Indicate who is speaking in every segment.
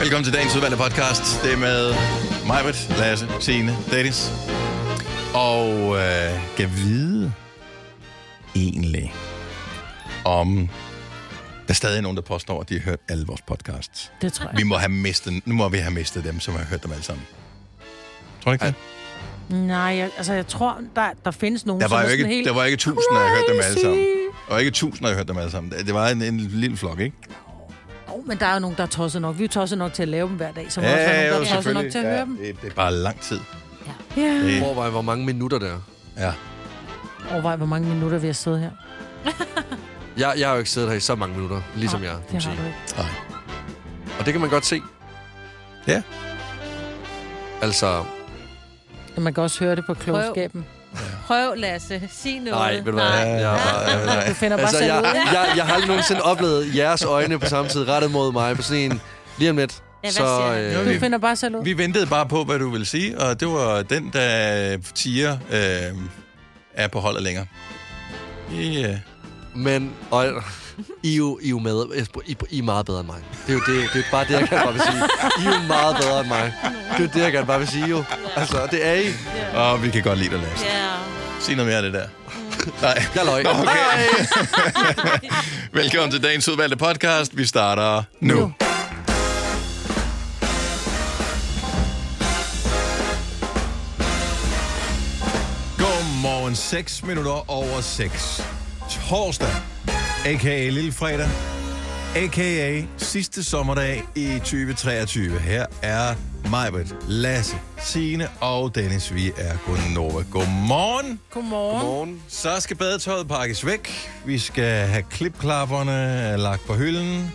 Speaker 1: Velkommen til dagens udvalgte podcast. Det er med Majbert, Lasse, Signe, Dennis. Og øh, kan vide egentlig, om der er stadig nogen, der påstår, at de har hørt alle vores podcasts.
Speaker 2: Det tror jeg.
Speaker 1: Vi må have mistet, nu må vi have mistet dem, som har hørt dem alle sammen. Tror du ikke det?
Speaker 2: Nej, jeg, altså jeg tror, der, der findes nogen,
Speaker 1: Der var,
Speaker 2: som
Speaker 1: jo
Speaker 2: er
Speaker 1: ikke,
Speaker 2: sådan helt...
Speaker 1: der var ikke tusind, der har hørt dem alle
Speaker 2: crazy.
Speaker 1: sammen. Der var ikke tusind, der har hørt dem alle sammen. Det det var en, en lille flok, ikke?
Speaker 2: Oh, men der er jo nogen, der er tosset nok. Vi er jo tosset nok til at lave dem hver dag, så ja,
Speaker 1: Ja,
Speaker 2: også er
Speaker 1: jo,
Speaker 2: nogen, der er tosset nok
Speaker 1: selvfølgelig.
Speaker 2: til at
Speaker 1: Ja,
Speaker 2: høre dem.
Speaker 1: Det, det er bare lang tid.
Speaker 2: Ja.
Speaker 1: Det,
Speaker 3: Overvej, hvor mange minutter der er.
Speaker 1: ja.
Speaker 2: Overvej, hvor mange minutter vi har siddet her.
Speaker 3: Jeg, jeg har jo ikke siddet her i så mange minutter, ligesom jeg.
Speaker 2: Det har
Speaker 3: kan
Speaker 2: du
Speaker 3: man
Speaker 2: ikke.
Speaker 1: Nej.
Speaker 3: sige. Og det kan man godt se.
Speaker 1: Ja.
Speaker 3: Altså,
Speaker 2: Men man kan også høre det på klogskaben.
Speaker 4: Prøv, Lasse. Sig noget.
Speaker 3: nej, ved du hvad? Jeg, jeg,
Speaker 2: Du finder bare
Speaker 3: altså,
Speaker 2: selv
Speaker 3: jeg,
Speaker 2: ud af det.
Speaker 3: jeg, jeg har aldrig nogensinde oplevet jeres øjne på samme tid rettet mod mig på sådan en... Lige om lidt,
Speaker 4: Ja, hvad
Speaker 3: så...
Speaker 4: siger
Speaker 3: Øh,
Speaker 1: han?
Speaker 2: Du finder bare selv ud.
Speaker 1: Vi ventede bare på, hvad du ville sige, og det var den, der tiger øh, er på holdet længere. Yeah.
Speaker 3: men... Og, I er jo, I er jo med. I, I er meget bedre end mig. Det er jo det, det er bare det, jeg gerne bare vil sige. I er jo meget bedre end mig. Det er jo det, jeg gerne bare vil sige, jo. Altså, det er I.
Speaker 1: Og vi kan godt lide dig, Lasse.
Speaker 4: Ja.
Speaker 1: Sig noget mere af det der. Nej.
Speaker 3: Jeg løj.
Speaker 1: Okay. Velkommen til dagens udvalgte podcast. Vi starter nu. nu. Godmorgen. 6 minutter over 6. Torsdag, a.k.a. Lillefredag, a.k.a. sidste sommerdag i 2023. Her er Majbert, Lasse, Signe og Dennis. Vi er Gunnova. Godmorgen.
Speaker 2: Godmorgen.
Speaker 3: Morgen.
Speaker 1: Så skal badetøjet pakkes væk. Vi skal have klipklapperne lagt på hylden.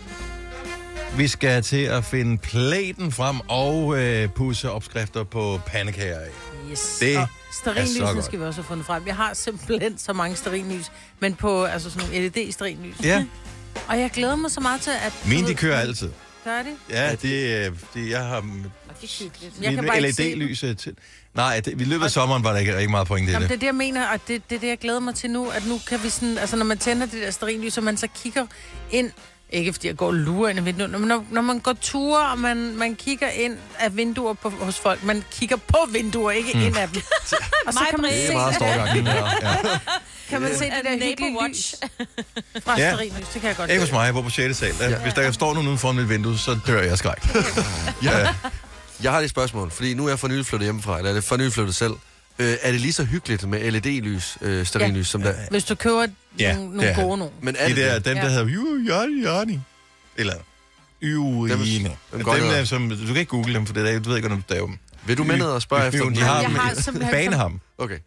Speaker 1: Vi skal til at finde platen frem og øh, pusse opskrifter på pandekager af.
Speaker 2: Yes.
Speaker 1: Det
Speaker 2: Og
Speaker 1: er så
Speaker 2: Sterinlysen
Speaker 1: godt.
Speaker 2: skal vi også have fundet frem. Jeg har simpelthen så mange sterinlys, men på altså sådan nogle LED-sterinlys.
Speaker 1: Ja,
Speaker 2: Og jeg glæder mig så meget til, at... du
Speaker 1: mine
Speaker 2: ved-
Speaker 1: de kører altid.
Speaker 2: Gør de?
Speaker 1: Ja, det, øh, det jeg har
Speaker 4: Og det er hyggeligt.
Speaker 2: Jeg kan
Speaker 1: mine
Speaker 2: bare ikke se dem.
Speaker 1: LED-lyset E til. Nej, det, i løbet af sommeren var der ikke rigtig meget point i
Speaker 2: Jamen, det
Speaker 1: det.
Speaker 2: er det, jeg mener, og det, det er det, jeg glæder mig til nu, at nu kan vi sådan, altså når man tænder det der sterinlys, og man så kigger ind, ikke fordi jeg går og lurer ind i vinduet, men når, når man går ture, og man, man kigger ind af vinduer på, hos folk, man kigger på vinduer, ikke mm. ind af dem. og så kan man,
Speaker 4: Det
Speaker 2: se,
Speaker 3: Det er meget storgangen. Ja.
Speaker 2: kan man se det der
Speaker 4: Neighbor
Speaker 2: hyggelige
Speaker 4: watch.
Speaker 2: lys fra
Speaker 1: Ja.
Speaker 2: sterinlys, det kan jeg godt
Speaker 1: Ikke
Speaker 2: lide.
Speaker 1: hos mig, hvor på 6. sal. Der, Hvis der står nogen uden for mit vindue, så dør jeg af skræk. ja.
Speaker 3: Jeg har lige et spørgsmål, fordi nu er jeg for nylig flyttet hjemmefra, eller er det for nylig flyttet selv. Øh, er det lige så hyggeligt med LED-lys, øh, sterinlys, ja. som der?
Speaker 2: Hvis du køber
Speaker 1: Ja,
Speaker 2: ja, nogle,
Speaker 1: det
Speaker 2: nogle
Speaker 1: er
Speaker 2: gode
Speaker 1: han.
Speaker 2: nogen.
Speaker 3: Men er
Speaker 1: De
Speaker 3: det,
Speaker 1: der,
Speaker 3: det?
Speaker 1: dem, der
Speaker 2: Ja.
Speaker 1: hedder Jørgen Jørgen. Eller Yrine.
Speaker 3: dem
Speaker 1: Dem,
Speaker 3: godt
Speaker 1: der,
Speaker 3: hedder.
Speaker 1: som, du kan ikke google dem, for det er, du ved ikke, hvordan du staver dem.
Speaker 3: Vil du med ned og spørge
Speaker 1: Yu-
Speaker 3: efter?
Speaker 1: Yu-
Speaker 3: om
Speaker 1: de
Speaker 3: du-
Speaker 1: har
Speaker 2: Jeg
Speaker 1: dem.
Speaker 2: har simpelthen...
Speaker 1: Baneham.
Speaker 3: Okay.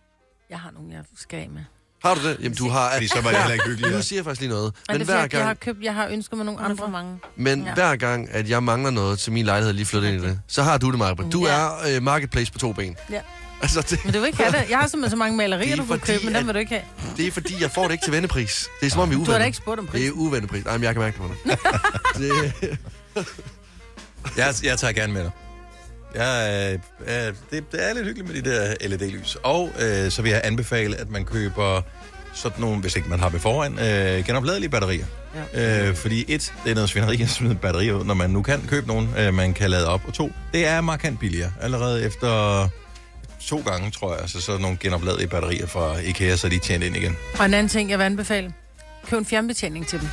Speaker 2: Jeg har nogle, jeg skal af med.
Speaker 3: Har du det? Jamen, du har...
Speaker 1: Fordi så var det heller ikke hyggeligt.
Speaker 3: Nu siger jeg faktisk lige noget.
Speaker 2: Men
Speaker 3: Men,
Speaker 2: det er, fordi,
Speaker 3: hver,
Speaker 2: jeg, jeg har
Speaker 3: gang,
Speaker 2: købt, jeg har ønsket mig nogle
Speaker 4: Hun er for
Speaker 2: andre.
Speaker 4: mange.
Speaker 3: men hver gang, at jeg mangler noget til min lejlighed, lige flyttet ind i det, så har du det, Margaret. Du
Speaker 2: Ja.
Speaker 3: er øh, marketplace på to ben.
Speaker 2: Ja.
Speaker 3: Altså, det,
Speaker 2: Men du vil ikke have det. Jeg har simpelthen så mange
Speaker 3: Det
Speaker 2: malerier,
Speaker 3: er
Speaker 2: du får
Speaker 3: fordi,
Speaker 2: købt, men dem
Speaker 3: at-
Speaker 2: vil du ikke have.
Speaker 3: det er fordi, jeg får det ikke til vendepris. Det er som om, vi er
Speaker 2: Du har da
Speaker 3: uvenner.
Speaker 2: ikke spurgt om
Speaker 3: Det er
Speaker 2: prisen.
Speaker 3: uvennepris. Nej, men jeg kan mærke det på dig. det,
Speaker 1: Jeg, jeg tager gerne med dig. Ja, øh, øh, det, det er lidt hyggeligt med de der LED-lys. Og øh, så vil jeg anbefale, at man køber sådan nogle, hvis ikke man har ved foran, øh, genopladelige batterier. Ja. Øh, fordi et, det er noget svineri at smide batterier ud, når man nu kan købe nogen, øh, man kan lade op. Og to, det er markant billigere. Allerede efter to gange, tror jeg, så sådan nogle genopladelige batterier fra IKEA, så er de tjent ind igen.
Speaker 2: Og en anden ting, jeg vil anbefale. Køb en fjernbetjening til dem.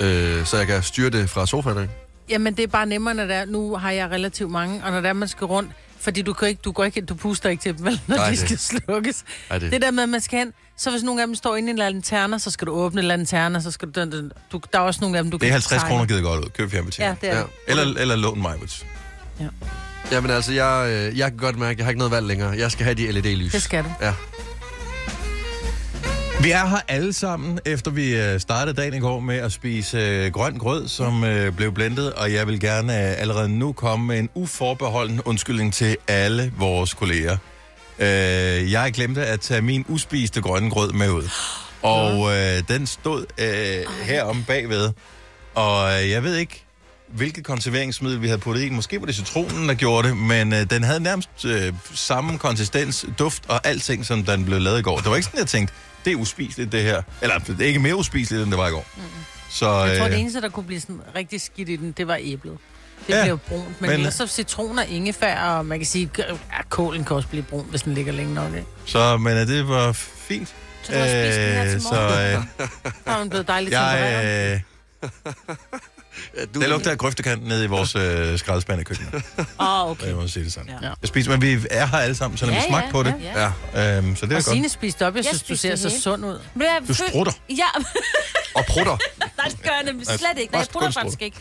Speaker 3: øh, så jeg kan styre det fra sofaen, ikke?
Speaker 2: Jamen, det er bare nemmere, når der, nu har jeg relativt mange, og når der man skal rundt, fordi du, kan ikke, du, går ikke, du puster ikke til dem, vel, når
Speaker 3: Nej,
Speaker 2: Nej, de
Speaker 3: det-
Speaker 2: skal slukkes.
Speaker 3: Ej,
Speaker 2: Det der med, at man skal hen, så hvis nogle af dem står inde i en lanterner, så skal du åbne lanterner, så skal du, den- den- du, der er også nogle af dem, du
Speaker 1: Det er
Speaker 2: kan
Speaker 1: 50
Speaker 2: sejle.
Speaker 1: kroner givet godt ud. Køb fjernbetjening.
Speaker 2: Ja, det er
Speaker 3: Ja.
Speaker 2: ja.
Speaker 1: Ja. Eller, eller lån mig,
Speaker 3: Jamen altså, jeg, øh, jeg kan godt mærke, at jeg har ikke noget valg længere. Jeg skal have de LED-lys.
Speaker 2: Det skal du.
Speaker 3: Ja.
Speaker 1: Vi er her alle sammen, efter vi øh, startede dagen i går med at spise øh, grøn grød, som øh, blev blendet, og jeg vil gerne øh, allerede nu komme med en uforbeholden undskyldning til alle vores kolleger. Øh, jeg glemte at tage min uspiste grønne grød med ud, og øh, den stod øh, heromme bagved, og øh, jeg ved ikke, hvilket konserveringsmiddel vi havde puttet i. Måske var det citronen, der gjorde det, men øh, den havde nærmest øh, samme konsistens, duft og alting, som den blev lavet i går. Det var ikke sådan, jeg tænkte, det er uspiseligt det her. Eller det er ikke mere uspiseligt, end det var i går. Så,
Speaker 2: Jeg tror, det
Speaker 1: øh,
Speaker 2: eneste, der kunne blive sådan rigtig skidt i den, det var æblet. Det
Speaker 1: Ja,
Speaker 2: ja, bliver jo brunt, men,
Speaker 1: men-
Speaker 2: men ellers så citroner, ingefær, og man kan sige, at kålen kan også blive brun, hvis den ligger længe nok. Ikke?
Speaker 1: Så, men øh, det var fint.
Speaker 2: Så du har spist den her til
Speaker 1: Øh,
Speaker 2: morgen?
Speaker 1: så, øh,
Speaker 2: Så er den blevet dejligt
Speaker 1: jeg,
Speaker 2: tempereret.
Speaker 1: øh,
Speaker 3: Du,
Speaker 1: det lugter af grøftekant nede i vores øh, skraldespand i køkkenet.
Speaker 2: Åh, oh,
Speaker 1: Okay.
Speaker 2: okay.
Speaker 1: Jeg må sige det sådan.
Speaker 2: Ja.
Speaker 1: Ja. Jeg spiser, men vi er her alle sammen, så når ja, vi smagte på det.
Speaker 4: Ja.
Speaker 3: Ja,
Speaker 1: Ja. Øhm, så det er
Speaker 2: Og
Speaker 1: godt.
Speaker 2: Signe spiste op. Jeg synes, du
Speaker 4: spiste
Speaker 2: ser
Speaker 4: det
Speaker 2: så
Speaker 4: hele.
Speaker 2: sund ud.
Speaker 4: Men jeg
Speaker 1: Du
Speaker 4: føl-
Speaker 1: strutter.
Speaker 4: Ja,
Speaker 3: og prutter. Altså,
Speaker 4: nej, det gør jeg nemlig slet ikke. Nej, jeg
Speaker 1: Kun
Speaker 4: prutter
Speaker 1: strutter.
Speaker 4: faktisk ikke.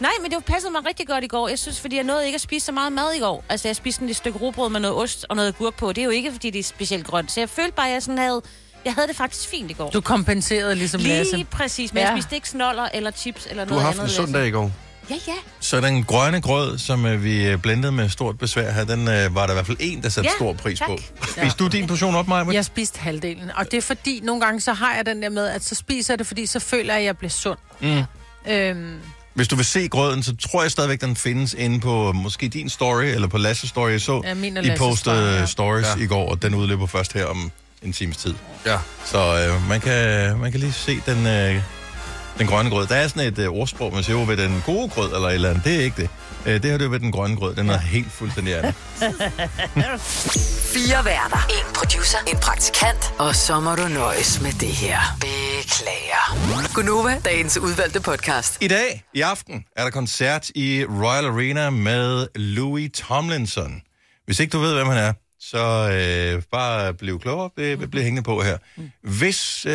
Speaker 4: Nej, men det passede mig rigtig godt i går. Jeg synes, fordi jeg nåede ikke at spise så meget mad i går. Altså, jeg spiste sådan et stykke rugbrød med noget ost og noget agurk på. Det er jo ikke, fordi det er specielt grønt. Så jeg følte bare, at jeg sådan havde... Jeg havde det faktisk fint i
Speaker 1: øh,
Speaker 4: går.
Speaker 2: Du kompenserede ligesom Lasse.
Speaker 4: Lige præcis, men ja.
Speaker 2: Ja.
Speaker 4: jeg spiste ikke snoller eller chips eller
Speaker 3: Du
Speaker 4: noget
Speaker 3: har
Speaker 4: andet.
Speaker 3: haft en sund
Speaker 4: Lasse.
Speaker 3: dag i går.
Speaker 4: Ja, ja.
Speaker 1: Så den grønne grød, som øh, vi øh, blendede med stort besvær her, den øh, var der i hvert fald en, der satte
Speaker 4: Ja,
Speaker 1: ja, stor pris
Speaker 4: tak.
Speaker 1: på. Spiste du din portion op, Maja?
Speaker 2: Jeg spiste halvdelen, og det er fordi, nogle gange så har jeg den der med, at så spiser jeg det, fordi så føler jeg, at jeg bliver sund. Mm. Øhm,
Speaker 1: Hvis du vil se grøden, så tror jeg stadigvæk, den findes inde på øh, måske din story, eller på Lasses story, jeg så.
Speaker 2: Ja, min og
Speaker 1: I
Speaker 2: Lasses
Speaker 1: postede
Speaker 2: story, ja.
Speaker 1: øh, stories
Speaker 3: Ja.
Speaker 1: ja. i går, og den udløber først her om en times tid.
Speaker 3: Ja.
Speaker 1: Så øh, man, kan, man kan lige se den, øh, den grønne grød. Der er sådan et øh, ordsprog, man siger jo ved den gode grød, eller et eller andet. Det er ikke det. Øh, det her det er ved den grønne grød. Den er helt fuldstændig af det.
Speaker 5: Fire værter. En producer. En praktikant. Og så må du nøjes med det her. Beklager. Gunova, dagens udvalgte podcast.
Speaker 1: I dag, i aften, er der koncert i Royal Arena med Louis Tomlinson. Hvis ikke du ved, hvem han er, så øh, bare bliv klogere. Det bliver hængende på her. Hvis øh,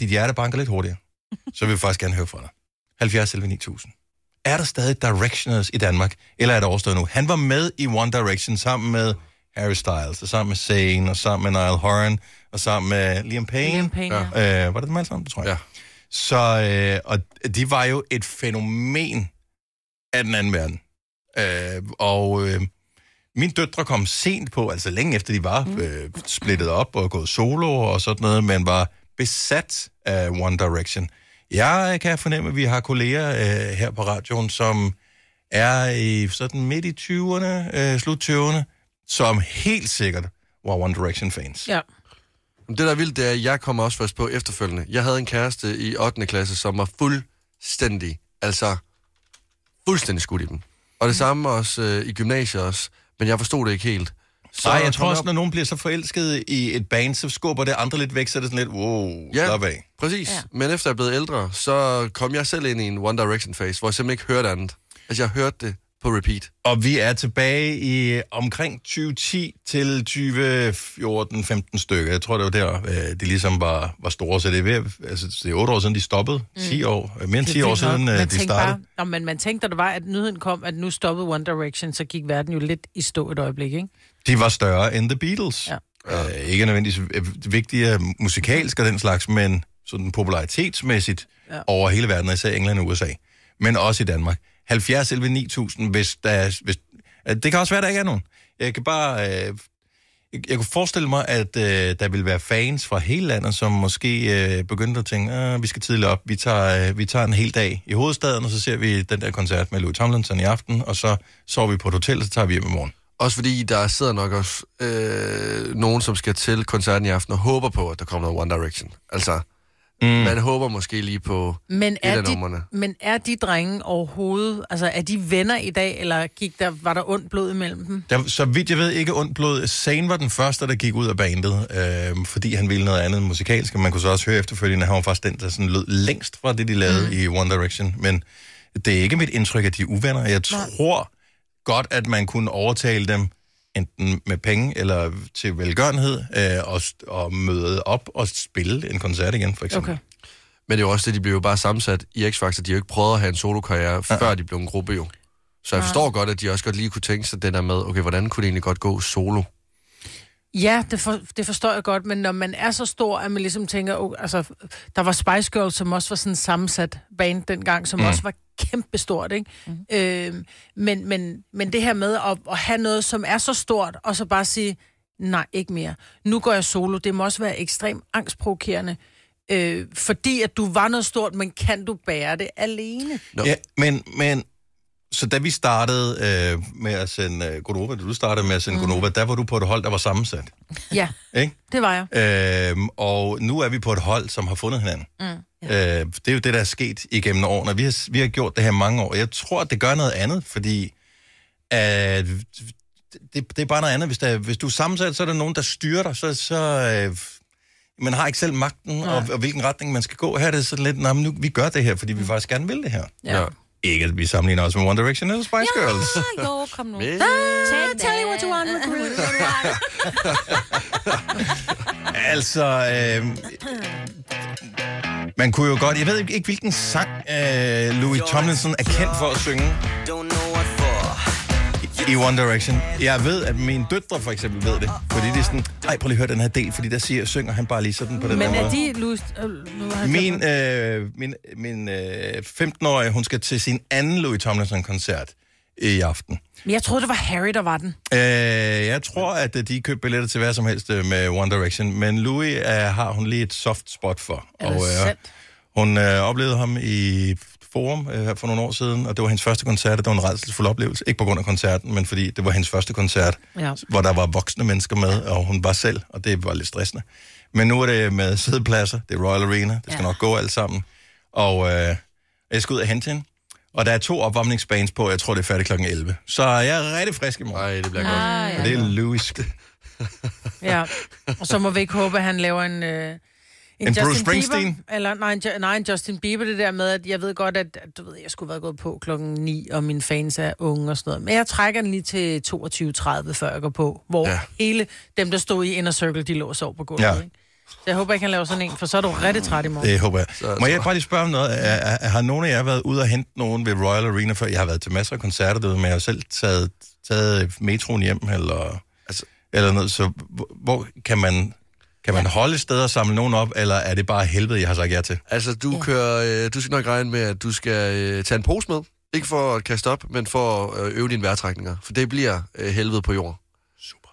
Speaker 1: dit hjerte banker lidt hurtigere, så vil vi faktisk gerne høre fra dig. 70 11 9000. Er der stadig Directioners i Danmark, eller er det overstået nu? Han var med i One Direction sammen med Harry Styles, og sammen med Zayn, og sammen med Niall Horan, og sammen med Liam Payne.
Speaker 2: Liam Payne,
Speaker 1: ja. Øh, var det dem alle sammen, Det tror jeg?
Speaker 3: Ja.
Speaker 1: Så, øh, og de var jo et fænomen af den anden verden. Øh, og øh, mine døtre kom sent på, altså længe efter de
Speaker 2: Mm.
Speaker 1: var øh, splittet op og gået solo og sådan noget, men var besat af One Direction. Jeg øh, kan fornemme, at vi har kolleger øh, her på radioen, som er i sådan midt i 20'erne, øh, slut 20'erne, som helt sikkert var One Direction-fans.
Speaker 2: ja.
Speaker 3: Men Det, der er vildt, det er, at jeg kommer også først på efterfølgende. Jeg havde en kæreste i 8. klasse, som var fuldstændig, altså fuldstændig skudt i dem. Og det samme også øh, i gymnasiet også, men jeg forstod det ikke helt. Så
Speaker 1: Nej,
Speaker 3: kom
Speaker 1: jeg tror også,
Speaker 3: op-
Speaker 1: når nogen bliver så forelsket i et band, så skubber det andre lidt væk, så er det sådan lidt, wow,
Speaker 3: Ja.
Speaker 1: ja. slap af.
Speaker 3: Præcis, ja.
Speaker 4: Ja.
Speaker 3: men efter jeg er blevet ældre, så kom jeg selv ind i en One Direction-phase, hvor jeg simpelthen ikke hørte andet. Altså, jeg hørte det på repeat.
Speaker 1: Og vi er tilbage i øh, omkring 2010 til 2014-15 stykker. Jeg tror, det var der, øh, de ligesom var, var store. Så det er, ved, altså, det er 8 år siden, de stoppede. 10 år, øh, mere end 10 år siden, øh,
Speaker 2: man
Speaker 1: de
Speaker 2: tænkte
Speaker 1: startede.
Speaker 2: Bare, nå, men man tænkte, da det var, at nyheden kom, at nu stoppede One Direction, så gik verden jo lidt i stå et øjeblik, ikke?
Speaker 1: De var større end The Beatles.
Speaker 2: Ja.
Speaker 1: Øh, ikke nødvendigvis øh, vigtige musikalsk og den slags, men sådan popularitetsmæssigt ja. over hele verden, og især England og USA. Men også i Danmark. 70 11 9000, hvis der er- hvis, øh, Det kan også være, der ikke er nogen. Jeg kan bare... Øh, jeg, jeg kunne forestille mig, at øh, der ville være fans fra hele landet, som måske øh, begyndte at tænke, "Ah, vi skal tidligt op, vi tager, øh, vi tager en hel dag i hovedstaden, og så ser vi den der koncert med Louis Tomlinson i aften, og så sover vi på et hotel, og så tager vi hjem i morgen.
Speaker 3: Også fordi der sidder nok også øh, nogen, som skal til koncerten i aften og håber på, at der kommer noget One Direction. Altså, mm. man håber måske lige på...
Speaker 2: Men er,
Speaker 3: af
Speaker 2: de,
Speaker 3: numrene.
Speaker 2: men er de drenge overhovedet, altså er de venner i dag, eller gik der, var der ondt blod imellem dem?
Speaker 1: Der, så vidt jeg ved, ikke ondt blod. Zane var den første, der gik ud af bandet, øh, fordi han ville noget andet end musikalsk. og Man kunne så også høre efterfølgende, at han var faktisk den, der sådan lød længst fra det, de lavede mm. i One Direction. Men det er ikke mit indtryk, at de er uvenner. Jeg tror godt, at man kunne overtale dem enten med penge eller til velgørenhed, øh, og, st- og møde op og spille en koncert igen, for eksempel.
Speaker 2: Okay.
Speaker 1: Okay.
Speaker 3: Men det er jo også det, de blev jo bare sammensat i X-Factor. De har jo ikke prøvet at have en solokarriere, ja. før de blev en gruppe jo. Så jeg forstår godt, at de også godt lige kunne tænke sig det der med, okay, hvordan kunne det egentlig godt gå solo?
Speaker 2: Ja, det, for, det forstår jeg godt, men når man er så stor, at man ligesom tænker, oh, altså, der var Spice Girls, som også var sådan en sammensat band dengang,
Speaker 3: Mhm.
Speaker 2: som mm. også var kæmpestort, ikke? Mm. Øh, men, men, men det her med at, at have noget, som er så stort, og så bare sige, nej, ikke mere. Nu går jeg solo. Det må også være ekstremt angstprovokerende, øh, fordi at du var noget stort, men kan du bære det alene?
Speaker 3: Nå.
Speaker 1: Ja, men, men så da vi startede øh, med at sende øh, Gonova, da du startede med at sende mm. Gonova, der var du på et hold, der var sammensat.
Speaker 2: Ja,
Speaker 1: Ikke?
Speaker 2: det var jeg.
Speaker 1: Øhm, og nu er vi på et hold, som har fundet hinanden. Mm. Ja. Øh, det er jo det, der er sket igennem årene, og vi har, vi har gjort det her i mange år. Jeg tror, at det gør noget andet, fordi at det, det er bare noget andet. Hvis, der, hvis du er sammensat, så er der nogen, der styrer dig, så, så øh, man har ikke selv magten, og, og hvilken retning man skal gå. Her er det sådan lidt, nej, men nu, vi gør det her, fordi vi faktisk gerne vil det her.
Speaker 2: Ja.
Speaker 3: Ja.
Speaker 1: Ikke at vi sammenligner os med One Direction eller Spice ja. Girls.
Speaker 4: Ah, jo, kom nu.
Speaker 3: Men-
Speaker 4: Take
Speaker 2: Tell you Ah, what you want,
Speaker 1: Altså, øh, man kunne jo godt... Jeg ved ikke, ikke hvilken sang øh, Louis Tomlinson er kendt for at synge
Speaker 6: Don't know what for.
Speaker 1: i One Direction. Jeg ved, at mine døtre for eksempel ved det, fordi det er sådan, ej, prøv lige at høre den her del, fordi der siger, synger han bare lige sådan på den
Speaker 2: Men
Speaker 1: der
Speaker 2: er
Speaker 1: måde.
Speaker 2: de lust... Øh, nu har jeg glemt
Speaker 1: Min, øh, min, min øh, 15-årige, hun skal til sin anden Louis Tomlinson-koncert i aften.
Speaker 2: det. Men jeg troede, det var Harry, der var den.
Speaker 1: Øh, jeg tror, at øh, de købte billetter til hvad som helst øh, med One Direction, men Louis øh, har hun lige et soft spot for. øh,
Speaker 2: Er det sandt?
Speaker 1: hun øh, oplevede ham i Forum øh, her for nogle år siden, og det var hendes første koncert, og det var en redselsfuld oplevelse. Ikke på grund af koncerten, men fordi det var hendes første koncert,
Speaker 2: Ja.
Speaker 1: hvor der var voksne mennesker med, og hun var selv, og det var lidt stressende. Men nu er det med sædepladser, det er Royal Arena, det skal ja. nok gå alt sammen. Og øh, jeg skal ud og hente hende, og der er to opvarmningsbands på, jeg tror, det er færdigt kl. 11. Så jeg er rigtig frisk i morgen.
Speaker 3: Nej, det bliver godt.
Speaker 4: Ah, ja.
Speaker 1: Og det er Louis.
Speaker 2: Ja. Og så må vi ikke håbe, at han laver en... Øh, en,
Speaker 1: Bruce
Speaker 2: Justin
Speaker 1: Springsteen?
Speaker 2: Bieber, eller nej, en, Ju- nej, en Justin Bieber, det der med, at jeg ved godt, at at du ved, jeg skulle være gået på klokken 9, og mine fans er unge og sådan noget. Men jeg trækker den lige til 22.30, før jeg går på, hvor
Speaker 3: Ja.
Speaker 2: ja. hele dem, der stod i Inner Circle, de lå og sov på gulvet.
Speaker 1: Ja.
Speaker 2: Ja. Ikke? Så jeg håber ikke, han laver sådan en, for så er du rigtig træt i morgen.
Speaker 1: Det håber jeg. Må jeg bare lige spørge om noget? Er, er, er- har nogen af jer været ude og hente nogen ved Royal Arena før? Jeg har været til masser af koncerter derude, men jeg har selv taget, taget metroen hjem eller, altså,
Speaker 3: Altså-
Speaker 1: eller noget. Så hvor- hvor kan man, kan man holde et sted og samle nogen op, eller er det bare helvede, jeg har sagt ja til?
Speaker 3: Altså, du, kører, øh, du skal nok regne med, at du skal øh, tage en pose med. Ikke for at kaste op, men for at øh, øve dine vejrtrækninger. For det bliver øh, helvede på jorden.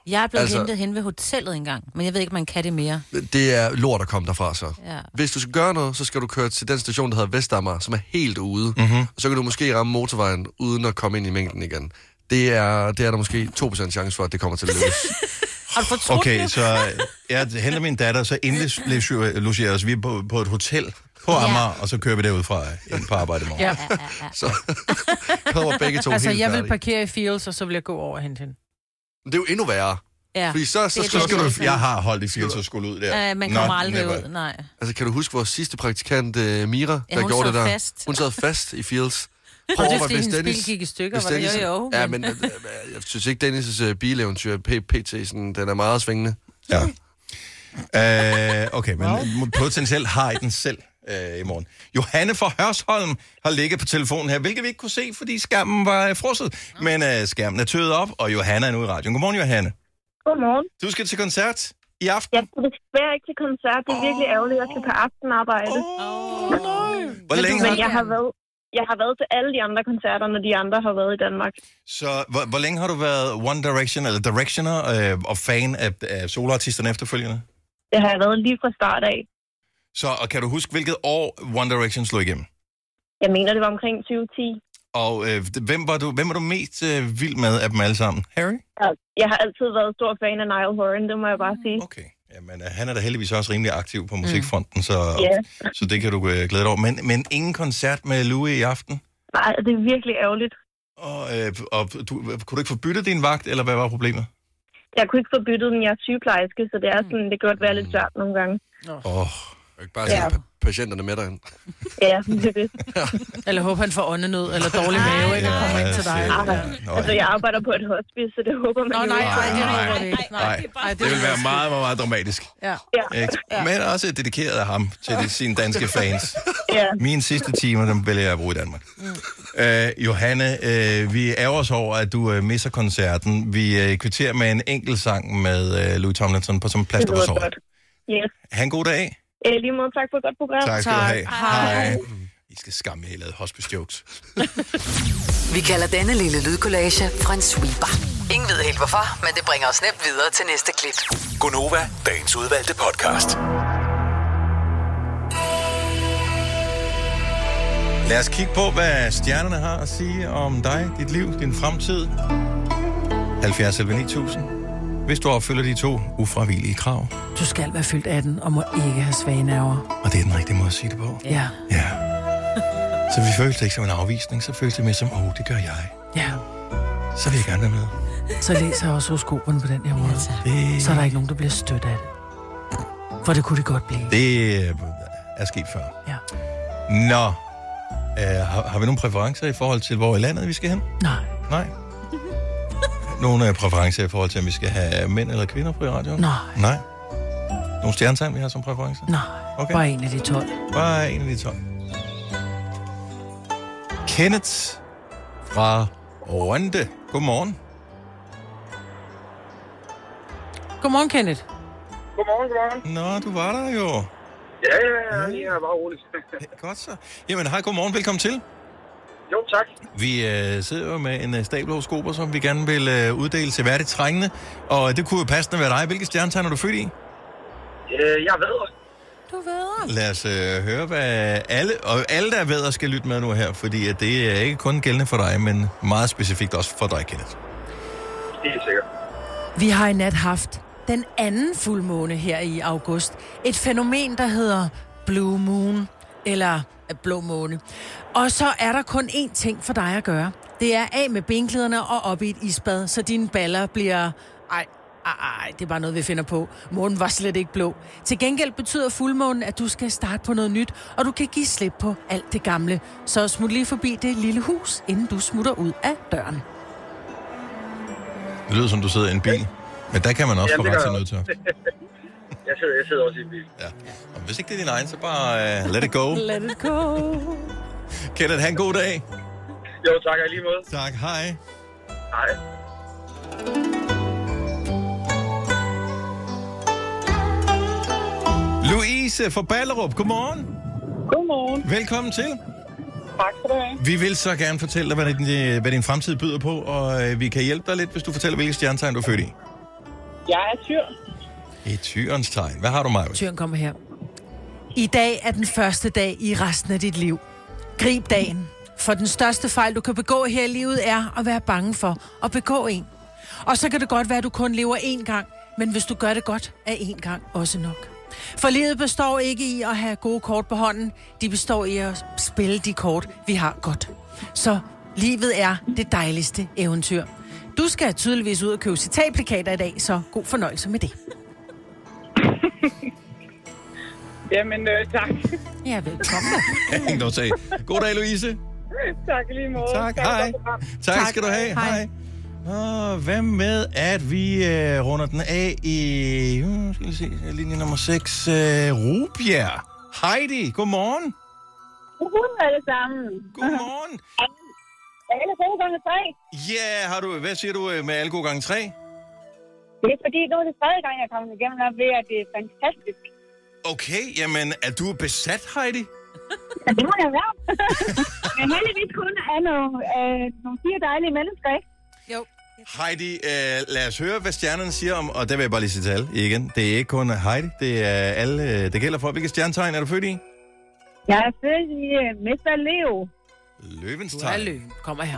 Speaker 4: Jeg er blevet altså...
Speaker 3: Altså-
Speaker 4: hentet hen ved hotellet engang, men jeg ved ikke, om man kan det mere.
Speaker 3: Det er lort at komme derfra så.
Speaker 4: Ja.
Speaker 3: Hvis du skal gøre noget, så skal du køre til den station, der hedder Vestamager, som er helt ude. Mm-hmm. Og så kan du måske ramme motorvejen, uden at komme ind i mængden igen. Det er, det er der måske 2% chance for, at det kommer til at lykkes.
Speaker 4: Har du fortrudt
Speaker 1: Okay,
Speaker 4: nu?
Speaker 1: så jeg henter min datter, så indlogerer os. Vi er på, på et hotel på Amager, ja. og så kører vi derudfra ind på arbejde i morgen. Ja.
Speaker 2: Ja.
Speaker 4: Ja, ja, ja.
Speaker 3: så kommer begge to
Speaker 2: Altså,
Speaker 3: helt
Speaker 2: jeg vil
Speaker 3: færdige.
Speaker 2: parkere i Fields, og så vil jeg gå over og hente hende.
Speaker 3: Det er jo endnu værre.
Speaker 4: ja.
Speaker 3: Fordi så, så
Speaker 4: Det er
Speaker 3: skal
Speaker 1: Så
Speaker 3: du
Speaker 1: skal du, jeg
Speaker 4: har...
Speaker 1: har holdt i firs og skulle ud der.
Speaker 4: Uh, man
Speaker 1: Not
Speaker 4: kommer aldrig
Speaker 1: never.
Speaker 4: ud, nej.
Speaker 3: Altså, kan du huske vores sidste praktikant, uh, Mira,
Speaker 4: Ja,
Speaker 3: der
Speaker 4: hun
Speaker 3: gjorde det
Speaker 4: sad
Speaker 3: der?
Speaker 4: fast.
Speaker 3: Hun sad fast i Fields.
Speaker 2: Og det er
Speaker 3: at
Speaker 2: fordi,
Speaker 3: hvis
Speaker 2: hendes bil
Speaker 3: Dennis-
Speaker 2: gik i stykker,
Speaker 3: hvis
Speaker 2: var det
Speaker 3: Dennis,
Speaker 2: ikke?
Speaker 4: Jo, jo,
Speaker 3: Ja,
Speaker 4: men-
Speaker 3: men øh, øh, jeg synes ikke, Dennis' uh, bileventyr, P- PT, sådan, den er meget svingende.
Speaker 1: Ja. Øh, okay, men wow. potentielt har I den selv øh, i morgen. Johanne fra Hørsholm har ligget på telefonen her, hvilket vi ikke kunne se, fordi skærmen var øh, frosset. Men øh, skærmen er tøet op, og Johanna er nu i radioen. Godmorgen, Johanne.
Speaker 7: Godmorgen.
Speaker 1: Du skal til koncert i aften.
Speaker 7: Jeg skal desværre ikke til koncert. Det er virkelig ærgerligt. Jeg skal på aftenarbejde.
Speaker 1: Oh, nej. Hvor
Speaker 2: Men du
Speaker 1: længe
Speaker 7: Men
Speaker 1: har,
Speaker 7: jeg har været... Jeg har været til alle de andre koncerter, når de andre har været i Danmark.
Speaker 1: så, hvor, hvor længe har du været One Direction, eller Directioner, øh, og fan af, af soloartisterne efterfølgende?
Speaker 7: Det har jeg været lige fra start af.
Speaker 1: Så og kan du huske, hvilket år One Direction slog igennem?
Speaker 7: Jeg mener, det var omkring 2010.
Speaker 1: Og øh, hvem, var du, hvem var du mest øh, vild med af dem alle sammen? Harry?
Speaker 7: Jeg- Jeg har altid været stor fan af Niall Horan, det må jeg bare sige.
Speaker 1: Okay. Jamen, øh, han er da heldigvis også rimelig aktiv på musikfronten, så,
Speaker 7: Ja,
Speaker 1: så det kan du øh, glæde dig over. Men, men ingen koncert med Louis i aften?
Speaker 7: nej, det er virkelig ærgerligt.
Speaker 1: Og, øh, og du, kunne du ikke få byttet din vagt, eller hvad var problemet?
Speaker 7: Jeg kunne ikke få byttet den. Jeg er sygeplejerske, så det, er sådan, det kan godt være
Speaker 1: Mm.
Speaker 7: lidt svært nogle gange.
Speaker 1: Åh, oh,
Speaker 3: Du kan Ikke bare ja.
Speaker 7: Ja.
Speaker 3: patienterne med dig.
Speaker 7: Ja, det er det.
Speaker 2: Eller håber, han får åndenød eller dårlig mave, ikke? Og kommer ind til dig.
Speaker 1: Nå,
Speaker 7: Altså, jeg arbejder på et hospice, så det håber man
Speaker 2: Nå,
Speaker 7: jo
Speaker 2: nej,
Speaker 7: ikke.
Speaker 2: nej, det
Speaker 1: Nej,
Speaker 2: håber vi ikke.
Speaker 1: nej.
Speaker 2: nej,
Speaker 1: Det vil være meget, meget, meget dramatisk.
Speaker 2: Ja.
Speaker 7: Ja,
Speaker 1: Ikke? Men også dedikeret af ham til de, sine danske fans.
Speaker 7: ja.
Speaker 1: Mine sidste timer, dem vælger jeg at bruge i Danmark. Øh, Johanne, øh, vi ærger os over, at du øh, misser koncerten. Vi øh, kvitterer med en enkelt sang med øh, Louis Tomlinson på som
Speaker 7: det
Speaker 1: plaster på
Speaker 7: lyder
Speaker 1: såret.
Speaker 7: godt. Yes.
Speaker 1: Ha' en god dag.
Speaker 7: Øh, lige måde, tak for et godt program.
Speaker 1: Tak skal du
Speaker 2: Tak.
Speaker 1: have.
Speaker 2: Hej.
Speaker 1: Hej. I skal skamme, jer, I lavede hospice jokes.
Speaker 5: Vi kalder denne lille lydkollage Frans sweeper. Ingen ved helt hvorfor, men det bringer os nemt videre til næste klip.
Speaker 8: Gunova, dagens udvalgte podcast.
Speaker 1: Lad os kigge på, hvad stjernerne har at sige om dig, dit liv, din fremtid. 70 11 9000. Hvis du opfylder de to ufravigelige krav.
Speaker 2: Du skal være fyldt 18 og må ikke have svage nerver.
Speaker 1: Og det er den rigtige måde at sige det på.
Speaker 2: Ja.
Speaker 1: Ja. Så vi følte det ikke som en afvisning, så følte det mere som, åh, oh, det gør jeg.
Speaker 2: Ja.
Speaker 1: Så vil jeg gerne være med.
Speaker 2: Så læser jeg også horoskoperne på den her måde.
Speaker 1: Det-
Speaker 2: Så er der ikke nogen, der bliver stødt af det. For det kunne det godt blive.
Speaker 1: Det øh, er sket før.
Speaker 2: Ja.
Speaker 1: Nå, øh, har, har vi nogle præferencer i forhold til, hvor i landet vi skal hen?
Speaker 2: Nej.
Speaker 1: Nej. Nogle øh, præferencer i forhold til, om vi skal have mænd eller kvinder på i radioen?
Speaker 2: Nej.
Speaker 1: Nej. Nogle stjernetegn, vi har som præferencer?
Speaker 2: Nej.
Speaker 1: Okay.
Speaker 2: Bare en af de 12.
Speaker 1: Bare en af de 12. Kenneth fra Rwanda. Godmorgen.
Speaker 2: Godmorgen, Kenneth.
Speaker 9: Godmorgen, godmorgen.
Speaker 1: Nå, du var der jo.
Speaker 9: Ja, ja, ja, ja, bare roligt.
Speaker 1: Godt så. Jamen, hej, godmorgen. Velkommen til.
Speaker 9: jo, tak.
Speaker 1: Vi øh, sidder jo med en øh, stabel horoskoper, som vi gerne vil øh, uddele til værdigt trængende. Og øh, det kunne jo passende være dig. Hvilke stjernetegn er du født i?
Speaker 9: Øh, jeg ved.
Speaker 2: Du ved.
Speaker 1: Lad os øh, høre, hvad alle, og alle, der er ved, skal lytte med nu her, fordi at det er ikke kun gældende for dig, men meget specifikt også for dig, Kenneth.
Speaker 9: Helt sikkert.
Speaker 2: Vi har i nat haft den anden fuldmåne her i august. Et fænomen, der hedder Blue Moon, eller øh, Blå Måne. Og så er der kun én ting for dig at gøre. Det er af med benklæderne og op i et isbad, så dine baller bliver... Ej, ej, ej, det er bare noget, vi finder på. Månen var slet ikke blå. Til gengæld betyder fuldmånen, at du skal starte på noget nyt, og du kan give slip på alt det gamle. Så smut lige forbi det lille hus, inden du smutter ud af døren.
Speaker 1: Det lyder som, du sidder i en bil, men der kan man også få
Speaker 9: det
Speaker 1: ret
Speaker 9: gør
Speaker 1: til
Speaker 9: jeg
Speaker 1: noget til.
Speaker 9: Jeg sidder, jeg sidder også i en bil.
Speaker 1: Ja. Og hvis ikke det er din egen, så bare uh, let it go.
Speaker 2: Let it go.
Speaker 1: Kenneth, have en god dag.
Speaker 9: Jo, tak, og i lige måde.
Speaker 1: Tak, hej.
Speaker 9: Hej.
Speaker 1: Louise fra Ballerup, godmorgen.
Speaker 10: Godmorgen.
Speaker 1: Velkommen til.
Speaker 10: Tak skal du have.
Speaker 1: Vi vil så gerne fortælle dig, hvad din, øh, hvad din fremtid byder på, og øh, vi kan hjælpe dig lidt, hvis du fortæller, hvilke stjernetegn du er født i.
Speaker 10: Jeg er tyr.
Speaker 1: I tyrens tegn. Hvad har du, Maja?
Speaker 2: Tyren kommer her. I dag er den første dag i resten af dit liv. Grib dagen. For den største fejl, du kan begå her i livet, er at være bange for at begå en. Og så kan det godt være, at du kun lever én gang, men hvis du gør det godt, er én gang også nok. For livet består ikke i at have gode kort på hånden. De består i at spille de kort, vi har godt. Så livet er det dejligste eventyr. Du skal tydeligvis ud og købe citatplakater i dag, så god fornøjelse med det.
Speaker 10: Jamen, øh, tak.
Speaker 2: Ja, velkommen.
Speaker 1: Ingen noget sag. God dag, Louise.
Speaker 10: tak i lige måde.
Speaker 1: Tak,
Speaker 10: for
Speaker 1: hej.
Speaker 10: programmet.
Speaker 1: Tak, tak
Speaker 2: Tak.
Speaker 1: skal du have.
Speaker 2: Hej.
Speaker 1: Hej. Og hvad med, at vi øh, runder den af i hmm, skal vi se, linje nummer 6, øh, Rubjerg. Heidi, godmorgen.
Speaker 10: Godmorgen alle sammen.
Speaker 1: Godmorgen.
Speaker 10: Alle gode gange tre.
Speaker 1: Ja, har du, hvad siger du øh, med alko gang 3?
Speaker 10: Det er fordi, nu er det tredje gang, jeg er kommet igennem, og ved, at det er fantastisk.
Speaker 1: Okay, jamen, er du besat, Heidi?
Speaker 10: Ja, det må jeg være. Men heldigvis kun er nogle, øh, nogle fire dejlige mennesker, ikke?
Speaker 2: Jo.
Speaker 1: Heidi, øh, lad os høre, hvad stjernerne siger om, og der vil jeg bare lige sige til alle igen. Det er ikke kun Heidi, det er alle, øh, det gælder for. Hvilke stjernetegn er du født i?
Speaker 10: Jeg er født i øh, Mester Leo.
Speaker 1: Løvens
Speaker 2: Du er
Speaker 1: tegn.
Speaker 2: løven. Kommer her.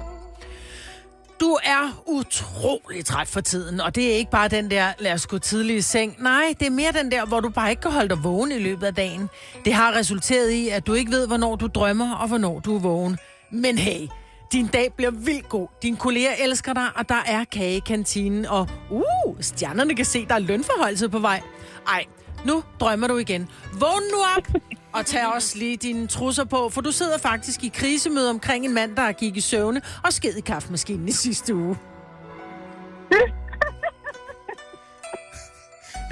Speaker 2: Du er utrolig træt for tiden, og det er ikke bare den der, lad os gå tidlig i seng. Nej, det er mere den der, hvor du bare ikke kan holde dig vågen i løbet af dagen. Det har resulteret i, at du ikke ved, hvornår du drømmer og hvornår du er vågen. Men hey, din dag bliver vildt god. Dine kolleger elsker dig, og der er kage i kantinen. Og uh, stjernerne kan se, der er lønforholdelse på vej. Ej, nu drømmer du igen. Vågn nu op, og tag også lige dine trusser på, for du sidder faktisk i krisemøde omkring en mand, der gik i søvne og sked i kaffemaskinen i sidste uge.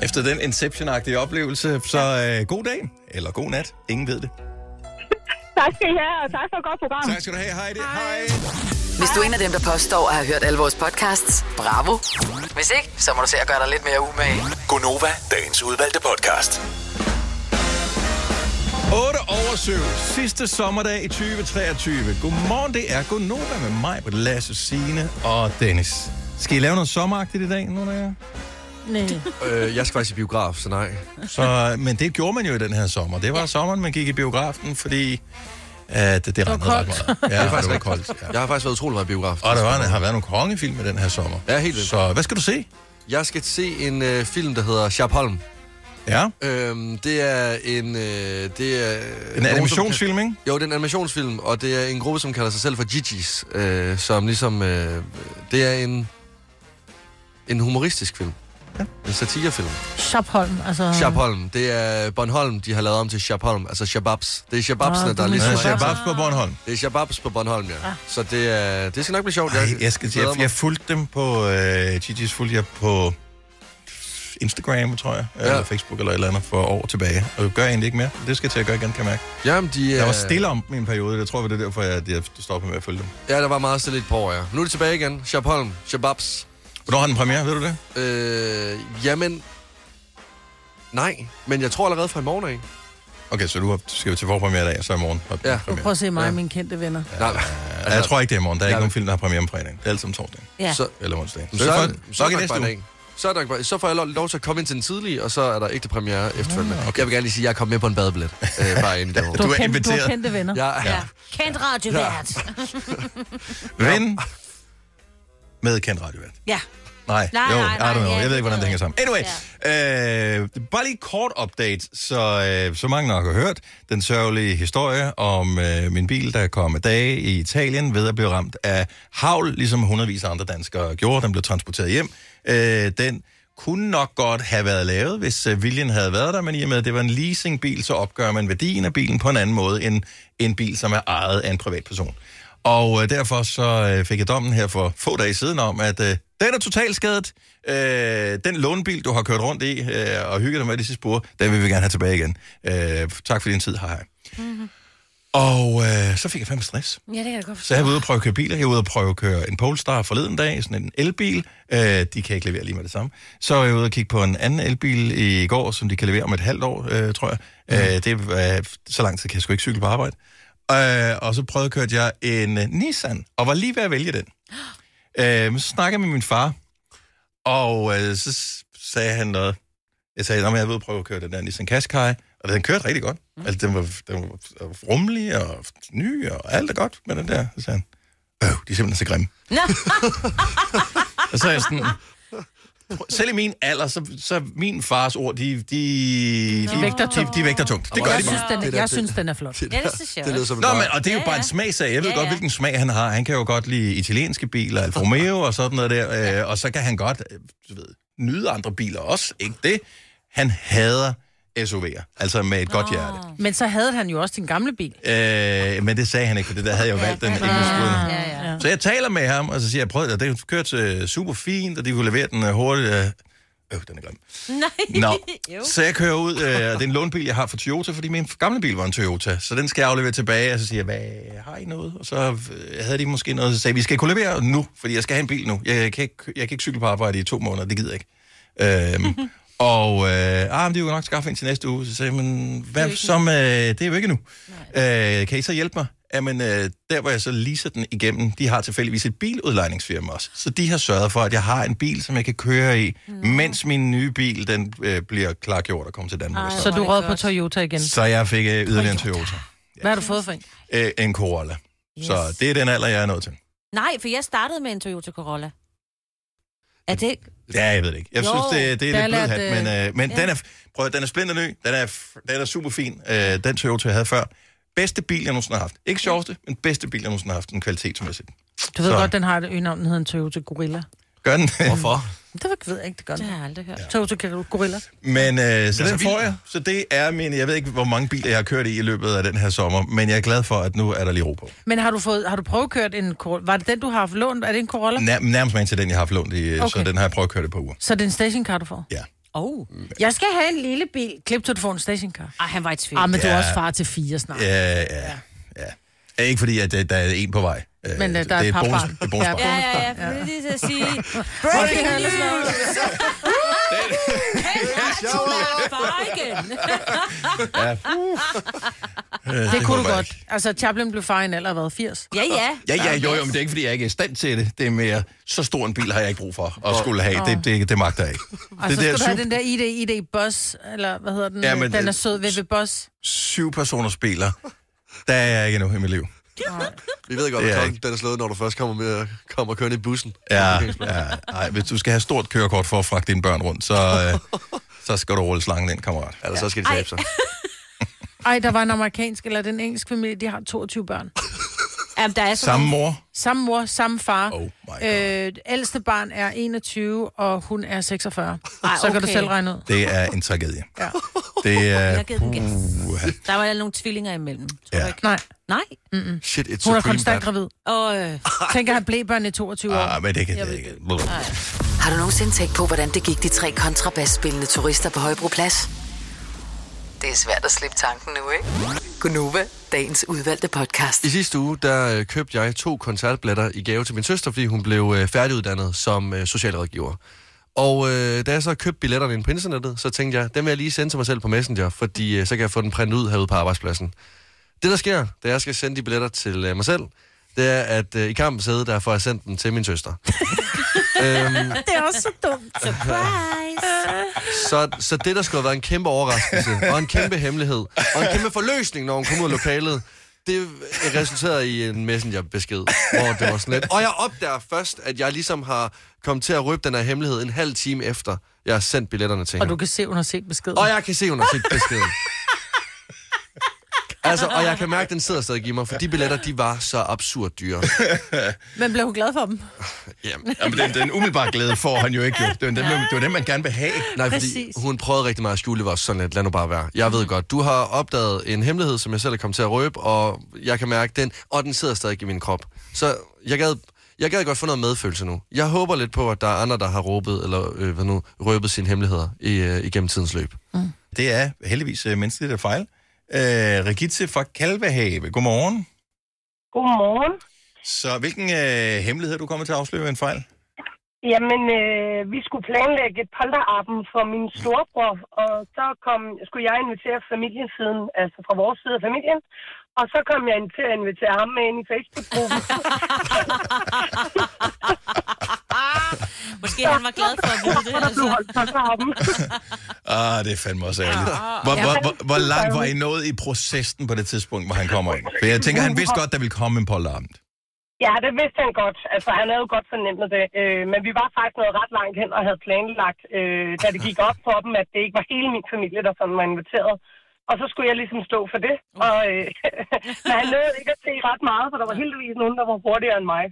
Speaker 1: Efter den Inception-agtige oplevelse, så øh, god dag, eller god nat. Ingen ved det.
Speaker 10: Tak skal I have, og tak for et godt program.
Speaker 1: Tak skal du have, Heidi. Hej.
Speaker 5: Hvis du er en af dem, der påstår at have hørt alle vores podcasts, bravo. Hvis ikke, så må du se at gøre dig lidt mere umage.
Speaker 8: Gonova, dagens udvalgte podcast.
Speaker 1: 8 over 7. Sidste sommerdag i 2023. Godmorgen, det er Gonova med mig, med Lasse, Signe og Dennis. Skal I lave noget sommeragtigt i dag, nogle af jer?
Speaker 2: Nej.
Speaker 3: Øh, jeg skal faktisk i biograf, så nej.
Speaker 1: Så, men det gjorde man jo i den her sommer. Det var ja. sommeren, man gik i biografen, fordi at det, det
Speaker 3: var
Speaker 1: regnede ret
Speaker 3: koldt.
Speaker 1: meget.
Speaker 3: Det er faktisk
Speaker 1: og det var
Speaker 3: rigtigt.
Speaker 1: koldt. Ja.
Speaker 3: Jeg har faktisk været utrolig meget i biografen.
Speaker 1: Og der var, har været nogle kongefilm i den her sommer.
Speaker 3: Ja, helt vildt.
Speaker 1: Så hvad skal du se?
Speaker 3: Jeg skal se en øh, film, der hedder Sharp Holm.
Speaker 1: Ja.
Speaker 3: Øhm, det er en... Øh, det er
Speaker 1: En animationsfilm, ikke?
Speaker 3: Jo, det er en animationsfilm, og det er en gruppe, som kalder sig selv for Gigi's, øh, som ligesom... Øh, det er en... En humoristisk film. Ja. En satirefilm.
Speaker 2: Shopholm, altså...
Speaker 3: Shabholm. Det er Bornholm, de har lavet om til Shabholm. Altså Shababs. Det er Shababsene,
Speaker 1: Ah,
Speaker 3: ah,
Speaker 1: det
Speaker 3: der
Speaker 1: er
Speaker 3: er ligesom...
Speaker 1: Ja, Shababs på Bornholm.
Speaker 3: Det er Shababs på Bornholm, ja. Ah. Så det, er, det skal nok blive sjovt.
Speaker 1: Ej, jeg, skal,
Speaker 3: glæder
Speaker 1: jeg,
Speaker 3: mig.
Speaker 1: jeg fulgte dem på... Øh, Gigi's fulgte jeg på Instagram, tror jeg. Ja. Eller Facebook eller et eller andet for år tilbage. Og det gør jeg egentlig ikke mere. Det skal jeg til at gøre igen, kan jeg mærke.
Speaker 3: Jamen, de,
Speaker 1: Jeg var
Speaker 3: øh,
Speaker 1: stille om dem i en periode. Jeg tror, det er derfor, jeg, jeg stoppede med at følge dem.
Speaker 3: Ja, der var meget stille i et par år, ja. Nu er det tilbage igen. Shabholm. Shababs.
Speaker 1: Hvornår har den premiere, ved du det?
Speaker 3: Øh, jamen... Nej, men jeg tror allerede fra i morgen af.
Speaker 1: Okay, så du har- skal jo til forpremiere i dag, og så i morgen. har den
Speaker 3: Ja.
Speaker 1: premiere.
Speaker 2: Prøv at se mig og mine kendte venner.
Speaker 3: Ja. Nej,
Speaker 1: altså, jeg tror ikke, det er i morgen. Der er ikke nogen film, der har premiere om fredagen. Det er altid om torsdagen.
Speaker 2: Ja.
Speaker 3: Så-
Speaker 1: Eller onsdagen.
Speaker 3: Så, så,
Speaker 1: det er
Speaker 3: er,
Speaker 1: godt.
Speaker 3: så, er
Speaker 1: okay,
Speaker 3: der
Speaker 1: næste
Speaker 3: bare en
Speaker 1: uge.
Speaker 3: dag. så, er der, ikke- så får jeg lov, lov til at komme ind til den tidlige, og så er der ægte premiere efterfølgende. Okay. Jeg vil gerne lige sige, at jeg kom med på en badebillet. Øh, bare ind i det
Speaker 1: Ah, Du
Speaker 2: Du
Speaker 1: er
Speaker 2: har kendt, du har
Speaker 1: inviteret.
Speaker 2: kendte venner.
Speaker 3: Ja, ja.
Speaker 4: Kendt radiovært.
Speaker 1: Vind med kendt radiovært.
Speaker 4: Ja.
Speaker 1: Nej,
Speaker 4: Nej,
Speaker 1: jo,
Speaker 4: nej, nej,
Speaker 1: I don't know.
Speaker 4: ja,
Speaker 1: jeg ved ikke, hvordan det hænger sammen. Anyway, øh, bare lige kort update, så, øh, så mange nok har hørt den sørgelige historie om øh, min bil, der kom af dage i Italien ved at blive ramt af havl, ligesom hundredvis af andre danskere gjorde. Den blev transporteret hjem. Øh, den kunne nok godt have været lavet, hvis øh, viljen havde været der, men i og med, at det var en leasingbil, så opgør man værdien af bilen på en anden måde end en bil, som er ejet af en privatperson. Og øh, derfor så øh, fik jeg dommen her for få dage siden om, at øh, den er totalskadet. Øh, den lånebil, du har kørt rundt i øh, og hygget dig med de sidste uger, den vil vi gerne have tilbage igen. Øh, tak for din tid, hej hej.
Speaker 2: Mhm.
Speaker 1: Og øh, så fik jeg fandme stress.
Speaker 2: Ja, det kan jeg godt forstå.
Speaker 1: Så jeg var ude og prøve at køre biler. Jeg var ude og prøve at køre en Polestar forleden dag, sådan en elbil. Øh, de kan ikke levere lige med det samme. Så var jeg ude og kigge på en anden elbil i går, som de kan levere om et halvt år, øh, tror jeg. Mm. Øh, det, øh, så lang tid kan jeg sgu ikke cykle på arbejde. Øh, og så prøvede kørte jeg en øh, Nissan, og var lige ved at vælge den. Øh, men så snakkede jeg med min far, og øh, så s- sagde han noget. Jeg sagde, at jeg ved at prøve at køre den der Nissan Qashqai, og den kørte rigtig godt. Mm. Altså, den var, den var rummelig og ny og alt er godt med den der. Så sagde han, øh, de er simpelthen så grimme. og så er jeg sådan, "Prøv- selv i min alder, så, så min fars ord, de, de, de,
Speaker 2: vægter
Speaker 1: de, de vægter tungt. Det gør
Speaker 2: jeg
Speaker 1: de
Speaker 2: synes,
Speaker 1: bare.
Speaker 2: den, jeg synes, den er flot.
Speaker 3: Det der- synes jeg det lyder også. som en
Speaker 1: Nå,
Speaker 3: drøm.
Speaker 1: men, og det er jo
Speaker 2: Ja,
Speaker 1: bare en
Speaker 2: ja.
Speaker 1: smag, Jeg ved
Speaker 2: Ja,
Speaker 1: godt,
Speaker 2: ja.
Speaker 1: hvilken smag han har. Han kan jo godt lide italienske biler, Alfa Romeo og sådan noget der. Øh, og så kan han godt øh, du ved, nyde andre biler også. Ikke det? Han hader SUV'er. Altså med et godt
Speaker 2: Ah.
Speaker 1: hjerte.
Speaker 2: Men så havde han jo også din gamle bil.
Speaker 1: Øh, men det sagde han ikke, for det der havde jeg jo valgt den engelske uden.
Speaker 2: ja, ja.
Speaker 1: Så jeg taler med ham, og så siger jeg, prøv det, det kørte øh, super fint, og de kunne levere den øh, hurtigt. Øh, øh, den er grim.
Speaker 4: Nej.
Speaker 1: Nå,
Speaker 4: Jo.
Speaker 1: så jeg kører ud, øh, og det er en lånbil, jeg har fra Toyota, fordi min gamle bil var en Toyota, så den skal jeg aflevere tilbage, og så siger jeg, hvad har I noget? Og så øh, havde de måske noget, så sagde jeg, vi skal kunne levere nu, fordi jeg skal have en bil nu. Jeg kan ikke, jeg kan ikke cykle på arbejde i to måneder, det gider jeg ikke. Øhm, og øh, ah, men det er jo nok skaffe en til næste uge, så sagde jeg, men hvad så med, det er jo ikke nu. Øh, kan I så hjælpe mig? Jamen, øh, der hvor jeg så leaser den igennem, de har tilfældigvis et biludlejningsfirma også. Så de har sørget for, at jeg har en bil, som jeg kan køre i, mens min nye bil, den øh, bliver klargjort og kommer til Danmark. og sådan
Speaker 2: Så du råd på Toyota igen.
Speaker 1: noget. Så jeg fik øh, yderligere en Toyota.
Speaker 2: Hvad har du fået for en?
Speaker 1: Øh, en Corolla. Yes. Så det er den alder, jeg er nået til.
Speaker 4: Nej, for jeg startede med en Toyota Corolla. Er det ikke?
Speaker 1: Ja, jeg ved det ikke. Jeg
Speaker 4: Jo,
Speaker 1: synes, det, det
Speaker 4: der
Speaker 1: er
Speaker 4: er
Speaker 1: lidt blød
Speaker 4: lidt,
Speaker 1: hat, men, øh, men
Speaker 4: ja.
Speaker 1: den, er, prøv, at- den er splinterny, den er, f- den er super fin, øh, den Toyota, jeg havde før. Bedste bil, jeg nogensinde har haft. Ikke sjoveste, men bedste bil, jeg nogensinde har haft, den kvalitetsmæssigt.
Speaker 2: Du ved
Speaker 1: Så.
Speaker 2: godt, den har et øgenavn, den hedder en Toyota Gorilla.
Speaker 1: Gør den. Hvorfor?
Speaker 2: Det ved- ved jeg ikke, det gør den. Det
Speaker 4: har jeg aldrig hørt.
Speaker 2: Toyota Gorilla.
Speaker 1: Men øh, så
Speaker 2: er
Speaker 1: den
Speaker 2: så
Speaker 1: får
Speaker 2: vild.
Speaker 1: jeg. Så det er min... Jeg ved ikke, hvor mange biler jeg har kørt i i løbet af den her sommer, men jeg er glad for, at nu er der lige ro på.
Speaker 2: Men har du, fået, har du prøvekørt en Corolla? Var det den, du har haft lånt? Er det en Corolla?
Speaker 1: Nær, nærmest man til den, jeg har haft lånt i, okay. så
Speaker 2: Okay.
Speaker 1: den har jeg prøvet at køre det på uger.
Speaker 2: Så det er en stationcar, du får?
Speaker 1: Ja.
Speaker 2: Oh. Jeg skal have en lille bil. Klip til, du får en stationcar.
Speaker 4: Ej, han var i tvivl.
Speaker 2: Ah, men du er
Speaker 1: Ja.
Speaker 2: også far til fire snart. Uh.
Speaker 1: Ja, ja, ja. Ikke fordi, at øh, der er en på vej. Øh,
Speaker 2: Men, øh, der
Speaker 1: det
Speaker 2: er et
Speaker 1: et
Speaker 2: par
Speaker 1: bonus,
Speaker 2: barn.
Speaker 1: et bonusbarn.
Speaker 4: Ja, ja, ja. Jeg ville lige til at sige...
Speaker 2: Breaking
Speaker 4: Breaking news!
Speaker 1: Ja.
Speaker 2: Det,
Speaker 1: Øh, håber
Speaker 2: det kunne du
Speaker 1: jeg
Speaker 2: godt. Altså, Chaplin blev far i en alder af hvad, 80?
Speaker 4: Ja, ja.
Speaker 1: Ja, ja, jo, jo, men det er ikke, fordi jeg ikke er i stand til det. Det er mere, så stor en bil har jeg ikke brug for at skulle have. Det, det, det magter jeg ikke.
Speaker 2: Og så skal
Speaker 1: det der
Speaker 2: du have
Speaker 1: syv-
Speaker 2: den der ID, ID Bus, eller hvad hedder den?
Speaker 1: Ja,
Speaker 2: Ja,
Speaker 1: men
Speaker 2: den
Speaker 1: det-
Speaker 2: er sød ved, ved Bus.
Speaker 1: syv personers biler. Der er jeg ikke endnu i mit liv.
Speaker 3: Vi ved godt,
Speaker 1: Det
Speaker 3: at
Speaker 1: er
Speaker 3: klokken den er slået, når du først kommer, med, kommer kørende i bussen.
Speaker 1: Ja, ja. Ej, hvis du skal have stort kørekort for at fragte dine børn rundt, så, øh, så skal du rulle slangen ind, kammerat.
Speaker 3: Eller så skal
Speaker 2: de tabe sig. Ej, der var en amerikansk eller den engelske familie, de har 22 børn.
Speaker 4: Jamen, der er
Speaker 1: Samme mor?
Speaker 2: Samme mor, samme far. Oh øh, ældste barn er 21, og hun er 46. Ej,
Speaker 4: Ej,
Speaker 2: Så kan du
Speaker 4: okay.
Speaker 2: selv regne ud.
Speaker 1: Det er en tragedie.
Speaker 2: Ja.
Speaker 1: Det er...
Speaker 4: Jeg givet den gas.
Speaker 1: Puha.
Speaker 4: Der var nogle tvillinger imellem. Tror
Speaker 1: Ja.
Speaker 4: ja. ikke? Nej. Nej?
Speaker 2: Mm-mm.
Speaker 3: Shit, it's
Speaker 2: Hun er
Speaker 3: supreme
Speaker 2: konstant
Speaker 3: bad.
Speaker 2: gravid.
Speaker 4: Og øh,
Speaker 2: tænker, han blev børn i 22 år.
Speaker 1: Ah, men det kan det ikke.
Speaker 5: Har du nogensinde tænkt på, hvordan det gik de tre kontrabasspillende turister på Højbroplads? Det er svært at slippe tanken nu, ikke? Gunova, dagens udvalgte podcast.
Speaker 3: I sidste uge, der øh, købte jeg to koncertbilletter i gave til min søster, fordi hun blev øh, færdiguddannet som øh, socialrådgiver. Og øh, da jeg så købte billetterne inde på internettet, så tænkte jeg, dem vil jeg lige sende til mig selv på Messenger, fordi øh, så kan jeg få den printet ud herude på arbejdspladsen. Det, der sker, da jeg skal sende de billetter til øh, mig selv, det er, at øh, i kampen sæde, der får jeg sendt dem til min søster.
Speaker 1: Mm.
Speaker 3: øhm,
Speaker 2: Det er også så dumt. Surprise!
Speaker 3: så, så det, der skulle have været en kæmpe overraskelse, og en kæmpe hemmelighed, og en kæmpe forløsning, når hun kom ud af lokalet, det resulterede i en messengerbesked, hvor det var sådan lidt. Og jeg opdager først, at jeg ligesom har kommet til at røbe den her hemmelighed en halv time efter, jeg har sendt billetterne til
Speaker 2: Og
Speaker 3: hende.
Speaker 2: du kan se, hun har set beskeden.
Speaker 3: Og jeg kan se, hun har set beskeden. Altså, og jeg kan mærke, at den sidder stadig i mig, for de billetter, de var så absurd dyre.
Speaker 2: Men blev hun glad for dem?
Speaker 3: Jamen,
Speaker 1: Jamen den, den umiddelbare glæde får han jo ikke. jo. Det var den, det var den man gerne vil have.
Speaker 3: Nej, fordi
Speaker 1: Præcis.
Speaker 3: Præcis. hun prøvede rigtig meget at skjule, det var sådan lidt, lad nu bare være. Jeg ved godt, du har opdaget en hemmelighed, som jeg selv er kommet til at røbe, og jeg kan mærke den, og den sidder stadig i min krop. Så jeg gad, jeg gad godt få noget medfølelse nu. Jeg håber lidt på, at der er andre, der har råbet, eller øh, hvad nu, røbet sine hemmeligheder i, øh, igennem tidens løb.
Speaker 1: Det er heldigvis øh, menneskeligt at fejle. Øh, Regitze fra Kalvehave. Godmorgen.
Speaker 11: Godmorgen.
Speaker 1: Så hvilken øh, hemmelighed er du kommer til at afsløre ved en fejl?
Speaker 11: Jamen, øh, vi skulle planlægge et polterappen for min storebror, og så kom, skulle jeg invitere familiesiden, altså fra vores side af familien, og så kom jeg ind til at invitere ham med ind i Facebook-gruppen.
Speaker 4: måske han var glad for at vide det. altså.
Speaker 11: Der blev holdt polterappen.
Speaker 1: Ah, det er fandme også ærligt. Hvor,
Speaker 11: Ja.
Speaker 1: hvor, hvor, hvor langt var I nået i processen på det tidspunkt, hvor han kommer ind? For jeg tænker, han vidste godt, der ville komme en polteramt.
Speaker 11: Ja, det vidste han godt. Altså, han havde jo godt fornemt det. Øh, men vi var faktisk noget ret langt hen og havde planlagt, øh, da det gik op for dem, at det ikke var hele min familie, der sådan var inviteret. Og så skulle jeg ligesom stå for det. Og, øh, men han nåede ikke at se ret meget, for der var heldigvis nogen, der var hurtigere end mig.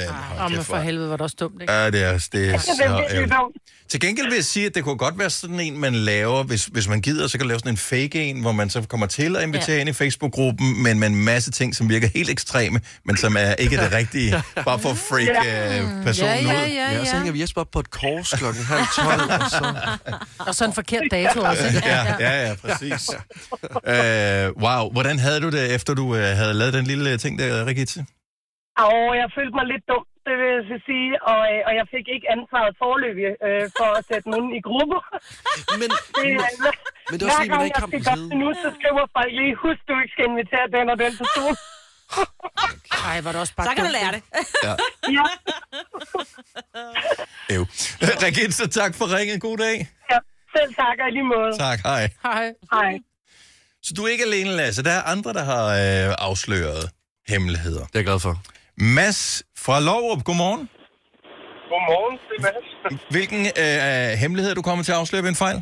Speaker 2: Åh, men for helvede, var det også dumt, ikke?
Speaker 1: Ja, Ah, det er, det er
Speaker 11: Ja, det er
Speaker 1: så
Speaker 11: virkelig
Speaker 1: ærgerligt.
Speaker 11: dumt.
Speaker 1: Til gengæld vil jeg sige, at det kunne godt være sådan en, man laver, hvis, hvis man gider, så kan du lave sådan en fake en, hvor man så kommer til at invitere
Speaker 12: Ja.
Speaker 1: ja. ind i Facebook-gruppen, men med en masse ting, som virker helt ekstreme, men som er ikke det rigtige, bare for at freak
Speaker 2: Ja.
Speaker 1: øh, personen
Speaker 2: Ja, ja,
Speaker 1: ud.
Speaker 2: ja, Ja, så ja. hænger
Speaker 3: vi Jesper op på et kors klokken halv tolv, og så...
Speaker 2: Og så en forkert dato også, ikke?
Speaker 1: Ja, ja, ja, præcis. Øh, wow, hvordan havde du det, efter du øh, havde lavet den lille ting der, Rigitte?
Speaker 11: Og jeg følte mig lidt dum, det vil jeg så sige, og, øh, og jeg fik ikke ansvaret forløbig øh, for at sætte nogen i grupper.
Speaker 3: Men,
Speaker 11: det, er,
Speaker 3: men
Speaker 11: det
Speaker 3: det er også fordi, man
Speaker 11: hver gang
Speaker 3: er i
Speaker 11: jeg skal
Speaker 3: kampens
Speaker 11: godt nu, så skriver folk lige, husk du ikke skal invitere den og den person.
Speaker 2: Nej, var det også bare
Speaker 4: Så kan du lære det.
Speaker 1: Ja.
Speaker 11: ja.
Speaker 1: Ew. Rigitte, tak for ringet. God dag.
Speaker 11: ja, selv tak og i lige måde.
Speaker 1: Tak, hej.
Speaker 2: Hej.
Speaker 11: Hej.
Speaker 1: Så du er ikke alene, Lasse. Der er andre, der har øh, afsløret hemmeligheder. Det
Speaker 3: er jeg glad for.
Speaker 1: Mads fra Lovrup, godmorgen.
Speaker 9: Godmorgen, det er Mads.
Speaker 1: Hvilken øh, hemmelighed er du kommet til at afsløre ved en fejl?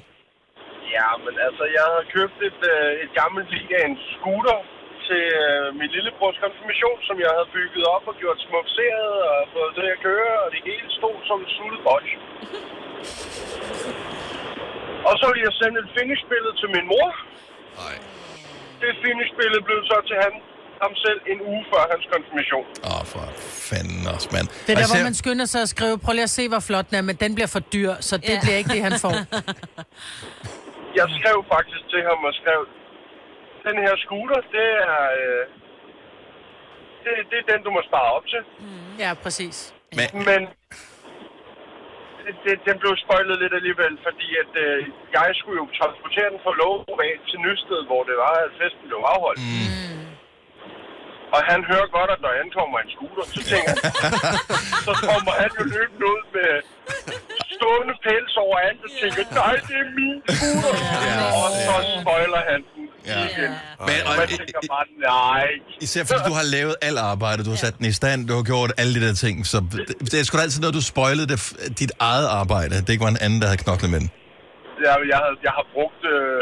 Speaker 9: Ja, men altså, jeg havde købt et, øh, et gammelt lig af en scooter til øh, min lillebrors konfirmation, som jeg havde bygget op og gjort smukseret og fået det at køre, og det hele stod som en sultet bolde. Og så ville jeg sende et finishbillede til min mor.
Speaker 3: Nej.
Speaker 9: Det finishbillede blev så til ham, ham selv en uge før hans konfirmation.
Speaker 1: Åh, oh, for fanden også, mand.
Speaker 2: Det er
Speaker 1: Og
Speaker 2: der, hvor
Speaker 1: især-
Speaker 2: man skynder sig at skrive, prøv lige at se, hvor flot den er, men den bliver for dyr, så det
Speaker 9: Ja.
Speaker 2: bliver ikke det, han får.
Speaker 9: Jeg skrev faktisk til ham og skrev, den her scooter, det er, øh, det, det er den, du må spare op til.
Speaker 2: Ja, præcis.
Speaker 1: Men,
Speaker 9: Men det, det, den blev spøjlet lidt alligevel, fordi at, øh, jeg skulle jo transportere den fra Logerup af til Nysted, hvor det var, at festen blev afholdt. Mm. Og han hører godt, at når han kommer en scooter, så tænker han, så kommer han jo løbende ud med stående pels overalt og tænker, nej, det er min scooter. Ja, og så spoiler han den
Speaker 1: Ja.
Speaker 9: weekend.
Speaker 1: Men,
Speaker 9: Men,
Speaker 1: og-
Speaker 9: man tænker bare, nej.
Speaker 1: Især fordi du har lavet alt arbejde, du har sat den i stand, du har gjort alle de der ting, så det, det er sgu da altid noget, du spoilede det, f- dit eget arbejde. Det ikke var en anden, der havde knoklet med den.
Speaker 9: Jeg, jeg, havde- jeg har brugt øh,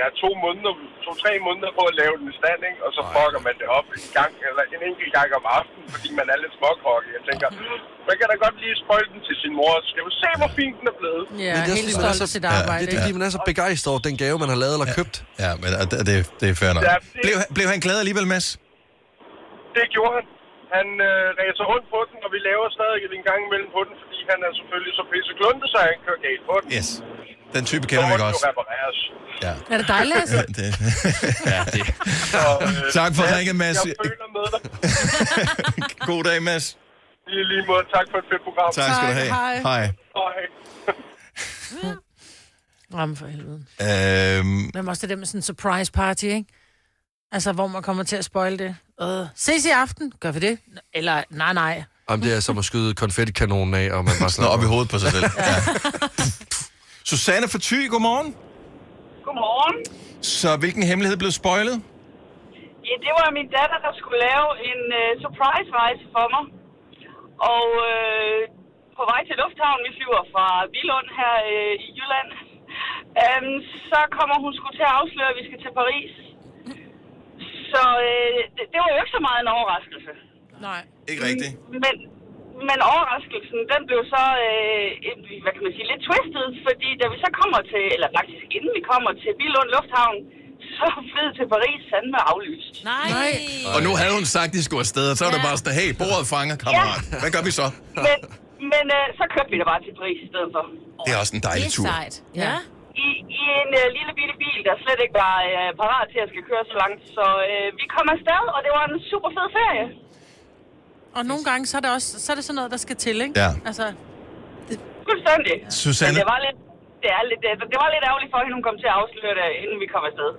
Speaker 9: ja, to måneder, to-tre måneder på at lave den i stand, ikke? og så fucker man det op en gang, eller en enkelt gang om aftenen, fordi man er lidt småkokket. Jeg tænker, man kan da godt lige spøjle den til sin mor, og skrive, se hvor fint den er blevet.
Speaker 3: Men det er også fordi, man er så- Ja, Det er fordi, man er så begejstret over den gave, man har lavet eller købt.
Speaker 1: Ja, men og det, det, det er fair nok.
Speaker 9: Ja, det-
Speaker 1: Blev, han- blev han glad alligevel, Mads?
Speaker 9: Det gjorde han. Han øh, ræser rundt på den, og vi laver stadig en gang imellem på den, fordi han er selvfølgelig så pisse kluntet, så han kører galt på den.
Speaker 1: Yes. Den type kender vi
Speaker 9: Den
Speaker 1: godt.
Speaker 9: jo repareres.
Speaker 1: Ja.
Speaker 2: Er det altså? dig, Lasse?
Speaker 1: det. ja, det. Tak for
Speaker 9: øh, Ja,
Speaker 1: ringen, Mads.
Speaker 9: Jeg føler med dig.
Speaker 1: God dag, Mads.
Speaker 9: I lige måde, tak for et fedt program.
Speaker 1: Tak skal du have. Hej.
Speaker 2: Ramme for helvede.
Speaker 1: Øhm,
Speaker 2: Men også det der med sådan en surprise party, ikke? Altså, hvor man kommer til at spoil det. Øh, ses i aften, gør vi det? Eller, nej, nej.
Speaker 3: Om det er som at skyde konfettikanonen af, og man bare
Speaker 1: Nå, op i hovedet på sig selv. Ja. Susanne for Thy, godmorgen.
Speaker 12: Godmorgen.
Speaker 1: Så hvilken hemmelighed blev spoilet?
Speaker 12: Ja, det var min datter, der skulle lave en øh, surprise-rejse for mig. Og øh, på vej til lufthavnen, vi flyver fra Bilund her øh, i Jylland, øhm, så kommer hun skulle til at afsløre, at vi skal til Paris. Så øh, det, det var jo ikke så meget en overraskelse.
Speaker 2: Nej.
Speaker 1: Ikke rigtigt.
Speaker 12: Men, men overraskelsen, den blev så, øh, et- hvad kan man sige, lidt twistet, fordi da vi så kommer til, eller faktisk inden vi kommer til Bilund Lufthavn, så er flyet til Paris fandme aflyst.
Speaker 4: Nej.
Speaker 1: Og nu havde hun sagt, de skulle afsted, og så var det bare sådan, hey, bordet fanger, kammerat. Hvad gør vi så?
Speaker 12: Men, men øh, så kørte vi da bare til Paris i stedet for.
Speaker 1: Det er også en dejlig tur.
Speaker 12: Ja. I, I en øh, lille bitte bil, der slet ikke var øh, parat til at skal køre så langt. Så øh, vi kom afsted, og det var en super fed ferie.
Speaker 2: Og nogle gange, så er det også så er det sådan noget, der skal til, ikke?
Speaker 1: Ja.
Speaker 2: Altså,
Speaker 12: Fuldstændig.
Speaker 1: Susanne?
Speaker 12: Men det var lidt, det er lidt, det, det var lidt ærgerligt for hende, hun kom til at afsløre det, inden vi kom afsted.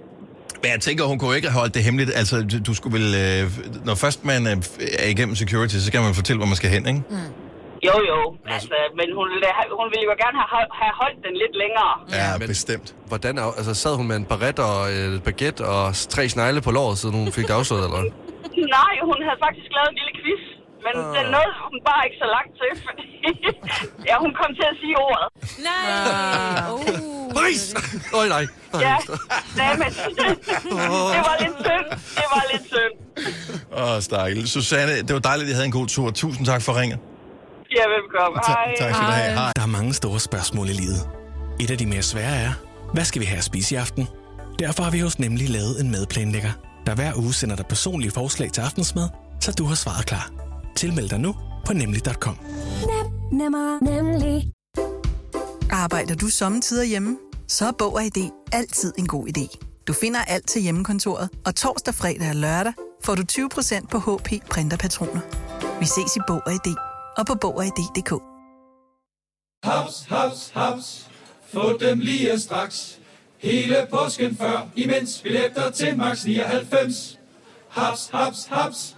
Speaker 1: Men jeg tænker, hun kunne ikke have holdt det hemmeligt. Altså, du- du skulle vel... Øh, når først man øh, er igennem security, så kan man fortælle, hvor man skal hen, ikke?
Speaker 12: Jo, jo. Altså, men hun, ville da- hun ville jo gerne have, hol- have holdt den lidt længere.
Speaker 1: Ja, men, bestemt.
Speaker 3: Hvordan, af- altså sad hun med en baret og øh, et baguette og s- tre snegle på låret, siden hun fik det afsløret, eller hvad?
Speaker 12: Nej, hun havde faktisk lavet en lille quiz. Men
Speaker 3: Ah.
Speaker 12: den nåede hun bare ikke så langt til, fordi ja, hun kom til at sige ordet.
Speaker 4: Nej.
Speaker 3: Uh, Paris! Øj, nej. Øj,
Speaker 12: Ja, dammit. det var lidt synd. Det var lidt synd.
Speaker 1: Åh, stakkel. Susanne, det var dejligt, at I havde en god tur. Tusind tak for ringet.
Speaker 12: Ja, velkommen. Hej.
Speaker 1: tak skal du have. Hej.
Speaker 13: Der er mange store spørgsmål i livet. Et af de mere svære er, hvad skal vi have at spise i aften? Derfor har vi hos Nemlig lavet en madplanlægger, der hver uge sender dig personlige forslag til aftensmad, så du har svaret klar. Tilmeld dig nu på nemlig.com.
Speaker 14: Nem, nemmer, nemlig. Arbejder du sommetider hjemme? Så er Bog og ID altid en god idé. Du finder alt til hjemmekontoret, og torsdag, fredag og lørdag får du 20% på HP printerpatroner. Vi ses i Bog og ID og på Bog og ID.dk.
Speaker 15: Haps, haps, haps. Få dem lige straks. Hele påsken før, imens vi læfter til max 99. Haps, haps, haps.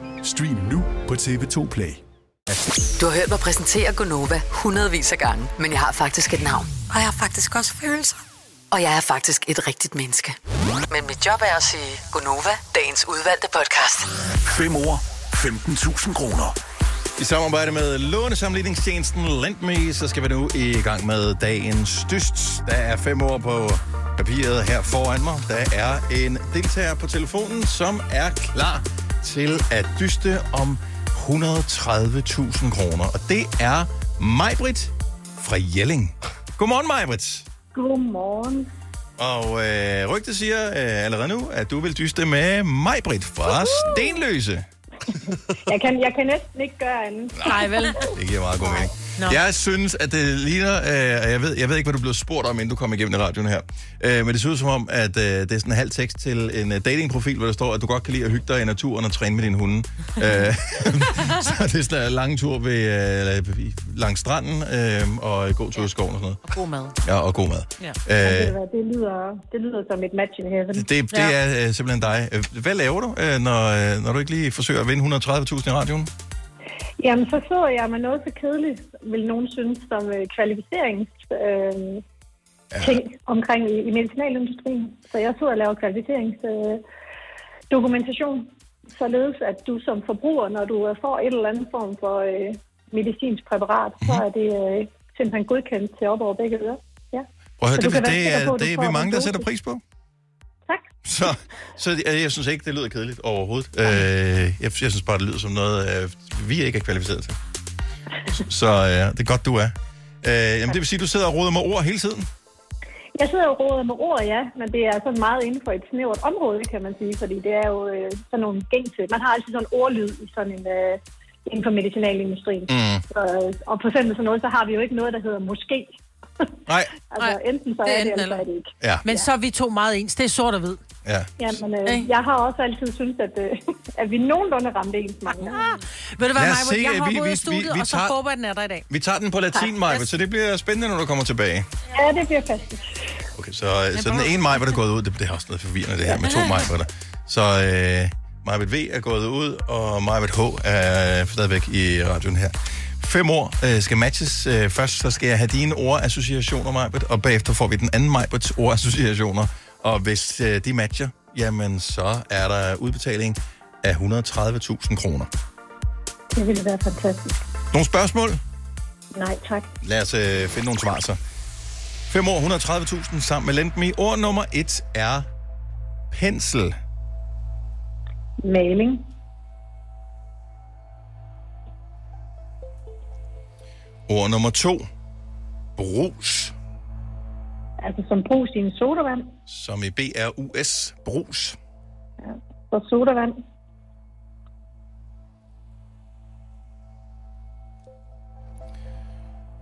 Speaker 16: Stream nu på TV2 Play.
Speaker 5: Du har hørt mig præsentere Gonova hundredvis af gange, men jeg har faktisk et navn. Og jeg har faktisk også følelser. Og jeg er faktisk et rigtigt menneske. Men mit job er at sige Gonova, dagens udvalgte podcast.
Speaker 1: 5 år, 15.000 kroner. I samarbejde med lånesamledningstjenesten LendMe, så skal vi nu i gang med dagens dyst. Der er fem år på papiret her foran mig. Der er en deltager på telefonen, som er klar til at dyste om 130.000 kroner. Og det er Majbrit fra Jelling. Godmorgen, Majbrit.
Speaker 17: Godmorgen.
Speaker 1: Og øh, rygtet siger øh, allerede nu, at du vil dyste med Majbrit fra Stenløse.
Speaker 17: Jeg kan, jeg kan næsten ikke gøre andet.
Speaker 2: Nej, vel?
Speaker 1: Det giver meget god mening. Nå. Jeg synes, at det ligner, øh, og jeg ved, jeg ved ikke, hvad du blev spurgt om, inden du kom igennem i radioen her, øh, men det ser ud som om, at øh, det er sådan en halv tekst til en øh, datingprofil, hvor der står, at du godt kan lide at hygge dig i naturen og træne med dine hunde. øh, så det er sådan en lang tur ved, øh, langs stranden øh, og god tur i skoven og sådan noget.
Speaker 2: God mad.
Speaker 1: Ja, og god mad.
Speaker 2: Ja.
Speaker 1: Øh,
Speaker 10: Øh, det, lyder, det lyder som et match in heaven.
Speaker 1: Det, det ja. er øh, simpelthen dig. Øh, Hvad laver du, øh, når, øh, når du ikke lige forsøger at vinde 130.000 i radioen?
Speaker 10: Jamen, så sidder jeg med noget så kedeligt, vil nogen synes, som øh, kvalificerings... Øh, ting omkring i, i medicinalindustrien. Så jeg sidder og laver kvalificeringsdokumentation, øh, dokumentation, således at du som forbruger, når du øh, får et eller andet form for øh, medicinsk præparat, så er det øh, simpelthen godkendt til op over begge ører. Ja.
Speaker 1: Prøv at
Speaker 10: Så
Speaker 1: høre,
Speaker 10: du
Speaker 1: det, det,
Speaker 10: kan være
Speaker 1: det,
Speaker 10: sikker på,
Speaker 1: er,
Speaker 10: at du
Speaker 1: det er
Speaker 10: får
Speaker 1: vi
Speaker 10: den
Speaker 1: mange, der
Speaker 10: dosis.
Speaker 1: sætter pris på. Så, så jeg, jeg synes ikke, det lyder kedeligt overhovedet. Øh, jeg, jeg synes bare, det lyder som noget, øh, vi ikke er kvalificeret til. Så øh, det er godt, du er. Øh, jamen, det vil sige, du sidder og roder med ord hele tiden?
Speaker 10: Jeg sidder og roder med ord, ja, men det er sådan meget inden for et snævert område, kan man sige, fordi det er jo øh, sådan nogle gængse. Man har altid sådan en ordlyd i sådan en, øh, inden for medicinalindustrien.
Speaker 1: Mm.
Speaker 10: Så, øh, og for eksempel sådan noget, så har vi jo ikke noget, der hedder måske.
Speaker 1: Nej.
Speaker 10: altså
Speaker 2: Nej,
Speaker 10: enten så
Speaker 2: det
Speaker 10: er
Speaker 2: er
Speaker 10: det,
Speaker 2: enten
Speaker 10: eller så er
Speaker 2: eller.
Speaker 10: det ikke.
Speaker 1: Ja.
Speaker 2: Men så er vi to meget ens. Det er sort og hvid.
Speaker 1: Ja.
Speaker 10: Ja, men øh, jeg har også altid syntes, at, øh, at vi nogenlunde ramte ens mange.
Speaker 2: Ved du hvad,
Speaker 1: Lad os
Speaker 2: Maja,
Speaker 1: se,
Speaker 2: jeg
Speaker 1: at vi-
Speaker 2: hopper ud
Speaker 1: vi-
Speaker 2: af studiet,
Speaker 1: vi- vi
Speaker 2: og så
Speaker 1: tager-
Speaker 2: håber jeg, den er der i dag.
Speaker 1: Vi tager den på latin, Maja, så det bliver spændende, når du kommer tilbage.
Speaker 10: Ja, det bliver fantastisk.
Speaker 1: Okay, så, øh, så den ene Maja, der er gået ud, det, det er også noget forvirrende, det her med to Maja, Så øh, Maja V er gået ud, og Maja H er stadigvæk i radioen her. Fem ord øh, skal matches. Øh, først så skal jeg have dine ordassociationer, Majbert, og bagefter får vi den anden Majberts ordassociationer. Og hvis øh, de matcher, jamen så er der udbetaling af 130.000 kroner.
Speaker 10: Det ville være fantastisk.
Speaker 1: Nogle spørgsmål?
Speaker 10: Nej, tak.
Speaker 1: Lad os øh, finde nogle svar så. 5 år, 130.000 sammen med Lendme. Ord nummer 1 er pensel.
Speaker 10: Maling.
Speaker 1: Ord nummer 2, brus,
Speaker 10: Altså som brus i en sodavand.
Speaker 1: som i B-R-U-S, brus.
Speaker 10: Så sodavand.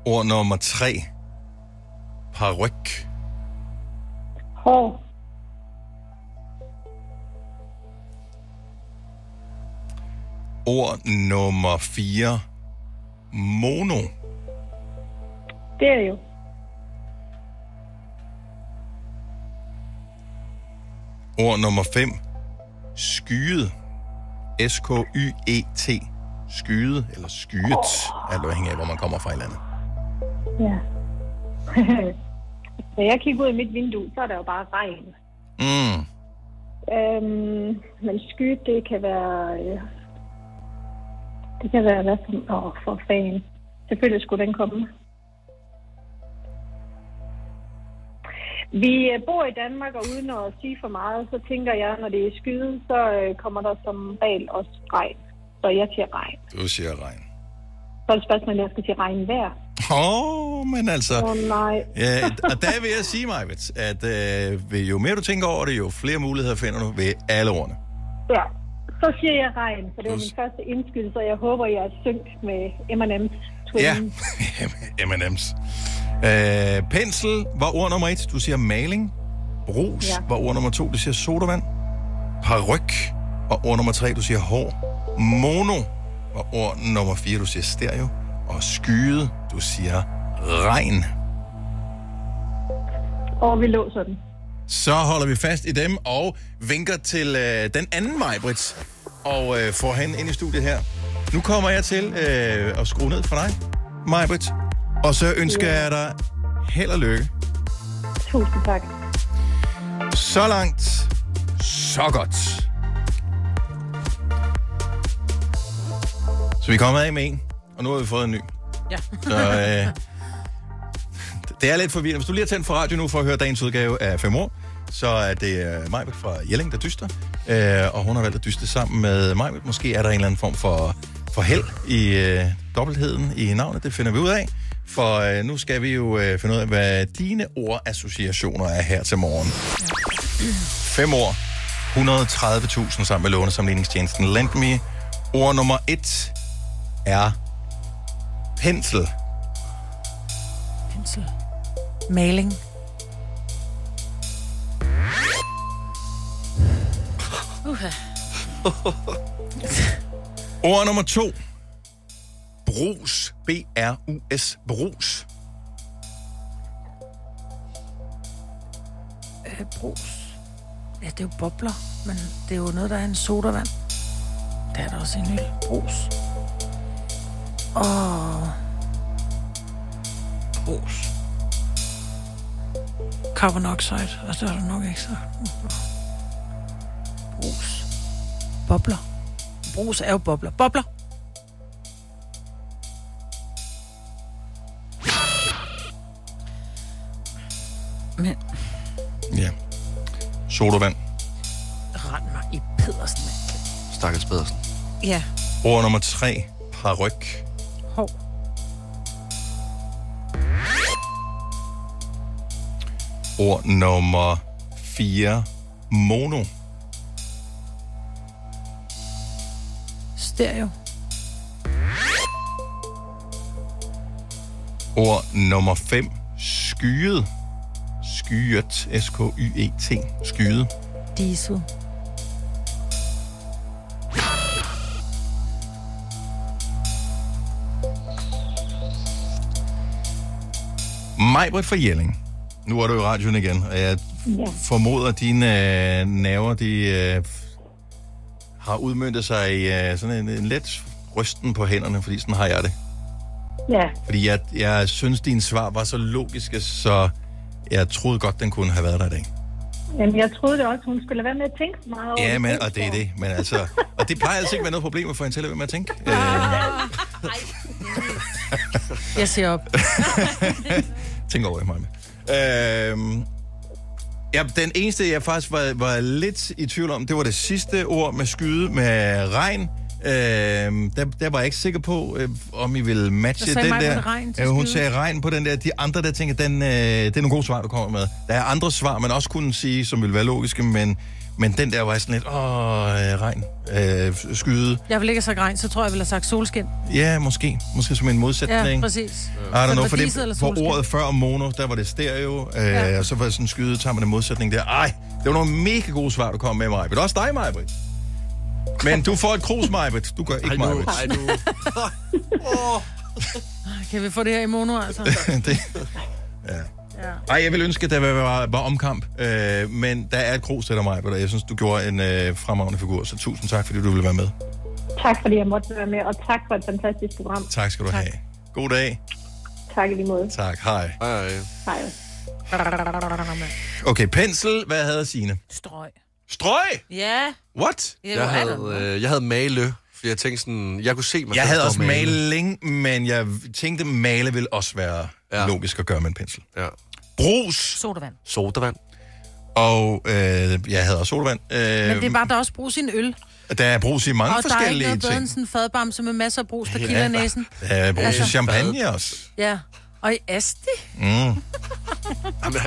Speaker 1: Ord nummer 3, paryk.
Speaker 10: Hår.
Speaker 1: Ord nummer 4, mono.
Speaker 10: Det er jo.
Speaker 1: Ord nummer 5, skyet. S-K-Y-E-T. E Skyet eller skyet, alt afhængig af, hvor man kommer fra i landet.
Speaker 10: Ja. Når jeg kigger ud i mit vindue, så er der jo bare regn.
Speaker 1: Mm.
Speaker 10: Øhm, men sky, det kan være... Øh, det kan være hvad for... Åh, for fanden. Selvfølgelig skulle den komme. Vi øh, bor i Danmark, og uden at sige for meget, så tænker jeg, når det er skyet, så øh, kommer der som regel også regn. Så jeg siger regn.
Speaker 1: Du siger regn.
Speaker 10: Så er det spørgsmålet, om jeg skal sige regn hver.
Speaker 1: Åh, oh, men altså...
Speaker 10: Åh, nej.
Speaker 1: Ja, og der vil jeg sige, Majvits, at øh, ved- jo mere du tænker over det, jo flere muligheder finder du ved alle ordene.
Speaker 10: Ja, så siger jeg regn, for det var min første indskydelse, og jeg håber, jeg er synk med M&M's twin.
Speaker 1: Ja, M&M's. Øh, pensel var ord nummer et, du siger maling. Brus
Speaker 10: Ja.
Speaker 1: ja. var ord nummer to, du siger sodavand. Paryk og ord nummer tre, du siger hår. Mono var ord nummer fire, du siger stereo. Og skyde, du siger regn.
Speaker 10: Og vi låser den.
Speaker 1: Så holder vi fast i dem og vinker til øh, den anden Majbrits og øh, får hende ind i studiet her. Nu kommer jeg til øh, at skrue ned for dig, Majbrits, og så ønsker
Speaker 10: Ja.
Speaker 1: jeg dig held og lykke.
Speaker 10: Tusind tak.
Speaker 1: Så langt, så godt. Så vi er kommet af med en, og nu har vi fået en ny.
Speaker 2: Ja.
Speaker 1: Så, øh, det er lidt forvirrende. Hvis du lige har tændt for radio nu for at høre dagens udgave af 5 år, så er det øh, Majbet fra Jelling, der dyster. Øh, og hun har valgt at dyste sammen med Majbet. Måske er der en eller anden form for, for held i øh, dobbeltheden i navnet. Det finder vi ud af. For øh, nu skal vi jo øh, finde ud af, hvad dine ordassociationer er her til morgen. 5 år. 130.000 sammen med lånesamligningstjenesten Lendme. Ord nummer 1 er pensel.
Speaker 2: pensel, maling.
Speaker 4: Uha.
Speaker 1: Ord nummer to. Brus. B-R-U-S. Brus.
Speaker 2: Øh, brus. Ja, det er jo bobler, men det er jo noget, der er en sodavand. Der er der også en øl. Brus. Og... Brus. Carbon oxide, og så er der nok ikke så... Brus. Bobler. Brus er jo bobler. Bobler! Men
Speaker 1: Ja. Sodavand.
Speaker 2: rend mig i pedersen, mand.
Speaker 1: Stakkels Pedersen.
Speaker 2: Ja.
Speaker 1: Ord nummer tre. Paryk.
Speaker 2: Hov.
Speaker 1: Ord nummer 4. Mono.
Speaker 2: Stereo.
Speaker 1: Ord nummer 5. Skyet. Skyet. S-K-Y-E-T. E Skyet.
Speaker 2: Diesel.
Speaker 1: Majbrit fra Jelling. Nu er du i radioen igen, og jeg
Speaker 10: Ja.
Speaker 1: formoder, at dine øh, naver, de øh, har udmyndtet sig i øh, sådan en, en let rysten på hænderne, fordi sådan har jeg det.
Speaker 10: Ja.
Speaker 1: Fordi jeg, jeg synes, dine svar var så logiske, så jeg troede godt, den kunne have været der i dag.
Speaker 10: Jamen, jeg troede det også, hun skulle lade være med at tænke så meget over
Speaker 1: Ja, men, og det er det. Men altså, og det plejer altså ikke at være noget problem at få en til at være med at tænke. Øh,
Speaker 2: Jeg ser op.
Speaker 1: Tænk over det, Maja. Øhm, ja, den eneste, jeg faktisk var, var lidt i tvivl om, det var det sidste ord med skyde med regn. Øhm, der, der var jeg ikke sikker på, øh, om I ville matche
Speaker 2: Hvad sagde
Speaker 1: den
Speaker 2: Maj med
Speaker 1: der.
Speaker 2: regn til
Speaker 1: Øh, hun
Speaker 2: skyde?
Speaker 1: sagde regn på den der. De andre, der tænker, den, øh, det er nogle gode svar, du kommer med. Der er andre svar, man også kunne sige, som ville være logiske, men, men den der var jeg sådan lidt, åh, øh, regn, øh, skyde.
Speaker 2: Jeg vil ikke have sagt regn, så tror jeg, jeg ville have sagt solskin.
Speaker 1: Ja, måske. Måske som en modsætning.
Speaker 2: Ja, præcis.
Speaker 1: I
Speaker 2: Så
Speaker 1: don't
Speaker 2: det
Speaker 1: know,
Speaker 2: var
Speaker 1: for,
Speaker 2: diesel eller
Speaker 1: det, for
Speaker 2: solskin?
Speaker 1: ordet før om mono, der var det stereo, øh, ja. og så var det sådan skyde, tager man en modsætning der. Ej, det var nogle mega gode svar, du kom med, Majbrit. Også dig, Majbrit. Men du får et krus, Majbrit. Du gør ikke, Majbrit.
Speaker 2: Kan vi få det her i mono, altså?
Speaker 1: det, ja. Ej, jeg vil ønske, at der var, var omkamp, øh, men der er et krus til dig, Majbrit, og jeg synes, du gjorde en øh, fremragende figur, så tusind tak, fordi du ville være med.
Speaker 10: Tak fordi jeg måtte være med, og tak for et fantastisk program.
Speaker 1: Tak skal du tak. have. God dag.
Speaker 10: Tak i lige måde.
Speaker 1: Tak. Hej. Hej.
Speaker 10: Hej.
Speaker 1: Okay, pensel. Hvad havde Signe?
Speaker 2: Strøg.
Speaker 1: Strøg?
Speaker 4: Ja.
Speaker 1: What?
Speaker 4: Ja, hvor
Speaker 3: Jeg
Speaker 4: er
Speaker 3: havde,
Speaker 4: der-
Speaker 3: øh, jeg havde male, fordi jeg tænkte sådan, jeg kunne se mig
Speaker 1: Jeg
Speaker 3: selv
Speaker 1: havde
Speaker 3: stå
Speaker 1: også
Speaker 3: og
Speaker 1: maling, men jeg tænkte, male ville også være ja. logisk at gøre med en pensel. Ja. Brus.
Speaker 2: Sodavand.
Speaker 1: Sodavand. Og øh, jeg havde også sodavand. Øh,
Speaker 2: Men det er bare, der også bruges sin øl.
Speaker 1: Der er brus i
Speaker 2: og der
Speaker 1: mange
Speaker 2: er ikke
Speaker 1: forskellige
Speaker 2: noget bedre end
Speaker 1: ting.
Speaker 2: sådan en fadbamse med masser af brus, der
Speaker 1: Ja.
Speaker 2: kilder i næsen.
Speaker 1: Der er brus
Speaker 2: Altså-
Speaker 1: i champagne også.
Speaker 2: Ja. Og i Asti.
Speaker 1: Mm.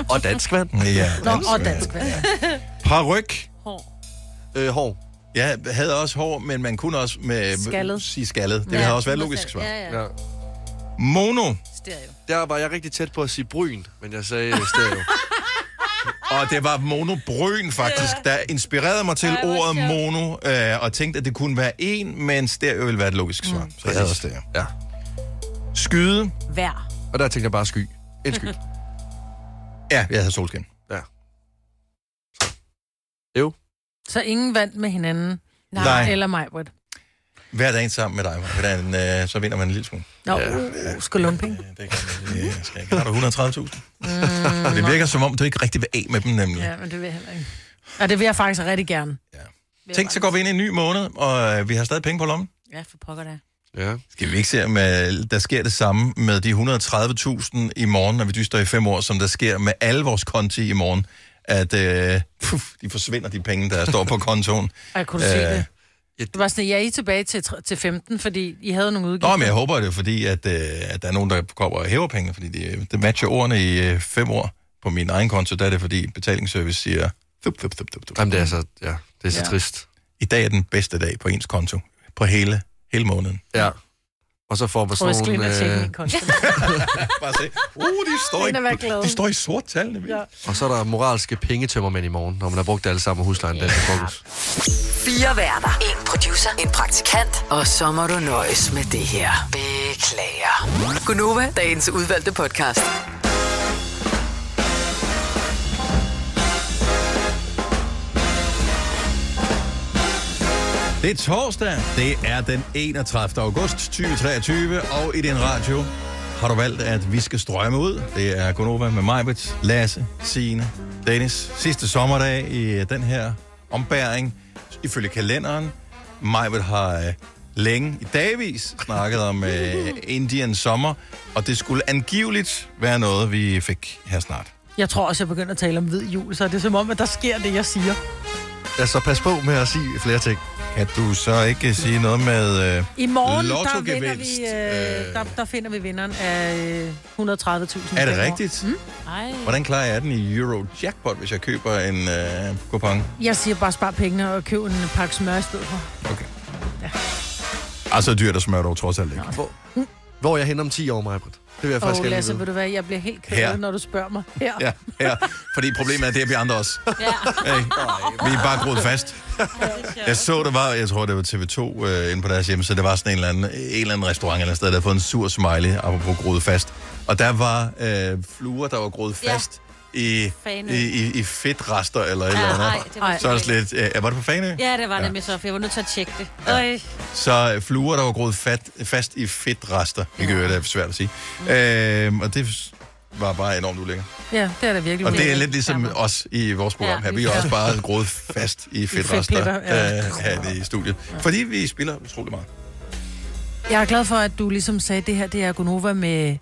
Speaker 3: og dansk vand.
Speaker 1: Ja,
Speaker 2: Nå, og dansk vand.
Speaker 1: Paryk.
Speaker 2: Hår.
Speaker 1: Øh, hår. Jeg havde også hår, men man kunne også med,
Speaker 3: Skaldet.
Speaker 1: sige skaldet. Det
Speaker 3: Ja,
Speaker 1: ja, havde også været
Speaker 3: modsat.
Speaker 1: logisk svar.
Speaker 3: Ja, ja. Ja.
Speaker 1: Mono.
Speaker 2: Stereo.
Speaker 3: Der var jeg rigtig tæt på at sige bryn, men jeg sagde øh, stereo.
Speaker 1: Og det var Mono Brøn faktisk, der inspirerede mig til Ej, ordet mono, øh, og tænkte, at det kunne være en, men stereo ville være et logisk svar. Mm. Så jeg havde også det, ja. Skyde.
Speaker 2: Vær.
Speaker 1: Og der tænkte jeg bare sky. En sky. ja, jeg havde solskin. Ja. Jo.
Speaker 2: Så ingen vandt med hinanden.
Speaker 1: Nej.
Speaker 2: Eller mig, Britt.
Speaker 1: Hver dag sammen med dig, Maja. hvordan, øh, så vinder man en lille smule.
Speaker 2: Nå, ja. uh, skal lumping.
Speaker 1: Det skal jeg ikke. Har du 130.000?
Speaker 2: Mm,
Speaker 1: Mm, det virker som om, du ikke rigtig vil af med dem nemlig.
Speaker 2: Ja, men det vil jeg heller ikke. Og det vil jeg faktisk rigtig gerne.
Speaker 1: Tænk, så går vi ind i en ny måned, og øh, vi har stadig penge på lommen.
Speaker 2: Ja, for pokker da.
Speaker 1: Ja. Skal vi ikke se, om øh, der sker det samme med de 130.000 i morgen, når vi dyster i fem år, som der sker med alle vores konti i morgen, at øh, puf, de forsvinder de penge, der står på kontoen.
Speaker 2: Ej, kunne du
Speaker 1: Øh,
Speaker 2: se det? Det var sådan, at jeg er I tilbage til, tr- til 15, fordi I havde nogle udgifter.
Speaker 1: Nå, men jeg håber det, er fordi at, øh, at der er nogen, der kommer og hæver penge, fordi det, det matcher ordene i øh, fem år på min egen konto, der er det, fordi betalingsservice siger... Thup, thup, thup, thup, thup. Jamen, det er så, ja, det
Speaker 3: er så Ja.
Speaker 1: trist. I dag er den bedste dag på ens konto, på hele, hele måneden.
Speaker 3: ja. Og så får man
Speaker 2: Prøv at
Speaker 3: sådan
Speaker 2: skrive ind
Speaker 3: nogle... øh,
Speaker 2: og tjekke min konto.
Speaker 1: Bare se. Uh, de står,
Speaker 2: Ingen at være glad.
Speaker 1: i, de står i sort tallene. Ja.
Speaker 3: Og så er der moralske pengetømmermænd i morgen, når man har brugt det alle sammen, og huslejen den er til frokost.
Speaker 5: Fire værter. En producer. En praktikant. Og så må du nøjes med det her. Beklager. Gunova, dagens udvalgte podcast.
Speaker 1: Det er torsdag. Det er den 31. august 2023, og i din radio har du valgt, at vi skal strømme ud. Det er Gonova med Majbet, Lasse, Signe, Dennis. Sidste sommerdag i øh, den her ombæring, ifølge kalenderen. Majbet har øh, længe i dagvis snakket om øh, Indiens sommer, og det skulle angiveligt være noget, vi fik her snart.
Speaker 2: Jeg tror også, jeg begynder at tale om hvid jul, så det er som om, at der sker det, jeg siger.
Speaker 3: Ja, så pas på med at sige flere ting.
Speaker 1: Kan du så ikke sige noget med øh,
Speaker 2: I morgen, der, vinder
Speaker 1: lottogevinst?
Speaker 2: vi, øh, der, der finder vi vinderen af øh, 130.000.
Speaker 1: Er det
Speaker 2: kroner.
Speaker 1: rigtigt?
Speaker 2: Mm? Nej.
Speaker 1: Hvordan klarer jeg den i Eurojackpot, hvis jeg køber en øh, kupon?
Speaker 2: Jeg siger bare, spar pengene og køb en pakke smør i stedet for.
Speaker 1: Altså dyrt at smøre dog trods alt ikke.
Speaker 3: Hvor, hvor er jeg hen om 10 år, Majbrit? Det vil jeg
Speaker 2: Åh,
Speaker 3: faktisk
Speaker 2: oh,
Speaker 3: oh,
Speaker 2: Lasse,
Speaker 3: gerne
Speaker 2: vil
Speaker 3: vide.
Speaker 2: du være, jeg bliver helt ked,
Speaker 1: Her.
Speaker 2: når du spørger mig. Her.
Speaker 1: Ja, ja, fordi problemet er, det er vi andre også. Ja. Hey, vi er bare groet fast. Jeg så, der var, jeg tror, det var TV2 øh, inde på deres hjemmeside, der var sådan en eller anden, en eller anden restaurant eller et sted, der havde fået en sur smiley, apropos groet fast. Og der var øh, fluer, der var groet fast. I,
Speaker 4: Fanø.
Speaker 1: i, i, i fedtrester eller et
Speaker 4: Ja,
Speaker 1: eller andet.
Speaker 4: ej, det var
Speaker 1: så er det
Speaker 4: ikke
Speaker 1: slet, øh, var det på Fanø?
Speaker 4: Ja, det var ja. nemlig så, for jeg var nødt til at tjekke det. Øj.
Speaker 1: Så øh, fluer, der var groet fat, fast i fedtrester. Det kan jo være svært at sige. Øh, og det var bare enormt ulækkert.
Speaker 2: Ja, det er da virkelig
Speaker 1: Og det er
Speaker 2: ulækkert.
Speaker 1: lidt ligesom os i vores program
Speaker 2: Ja,
Speaker 1: her. Vi
Speaker 2: vi
Speaker 1: er
Speaker 2: er-
Speaker 1: også bare groet fast i fedtrester
Speaker 2: fedtpletter, ja.
Speaker 1: øh, her i studiet. Fordi vi spiller utrolig meget.
Speaker 2: Jeg er glad for, at du ligesom sagde, at det her det er Gunova med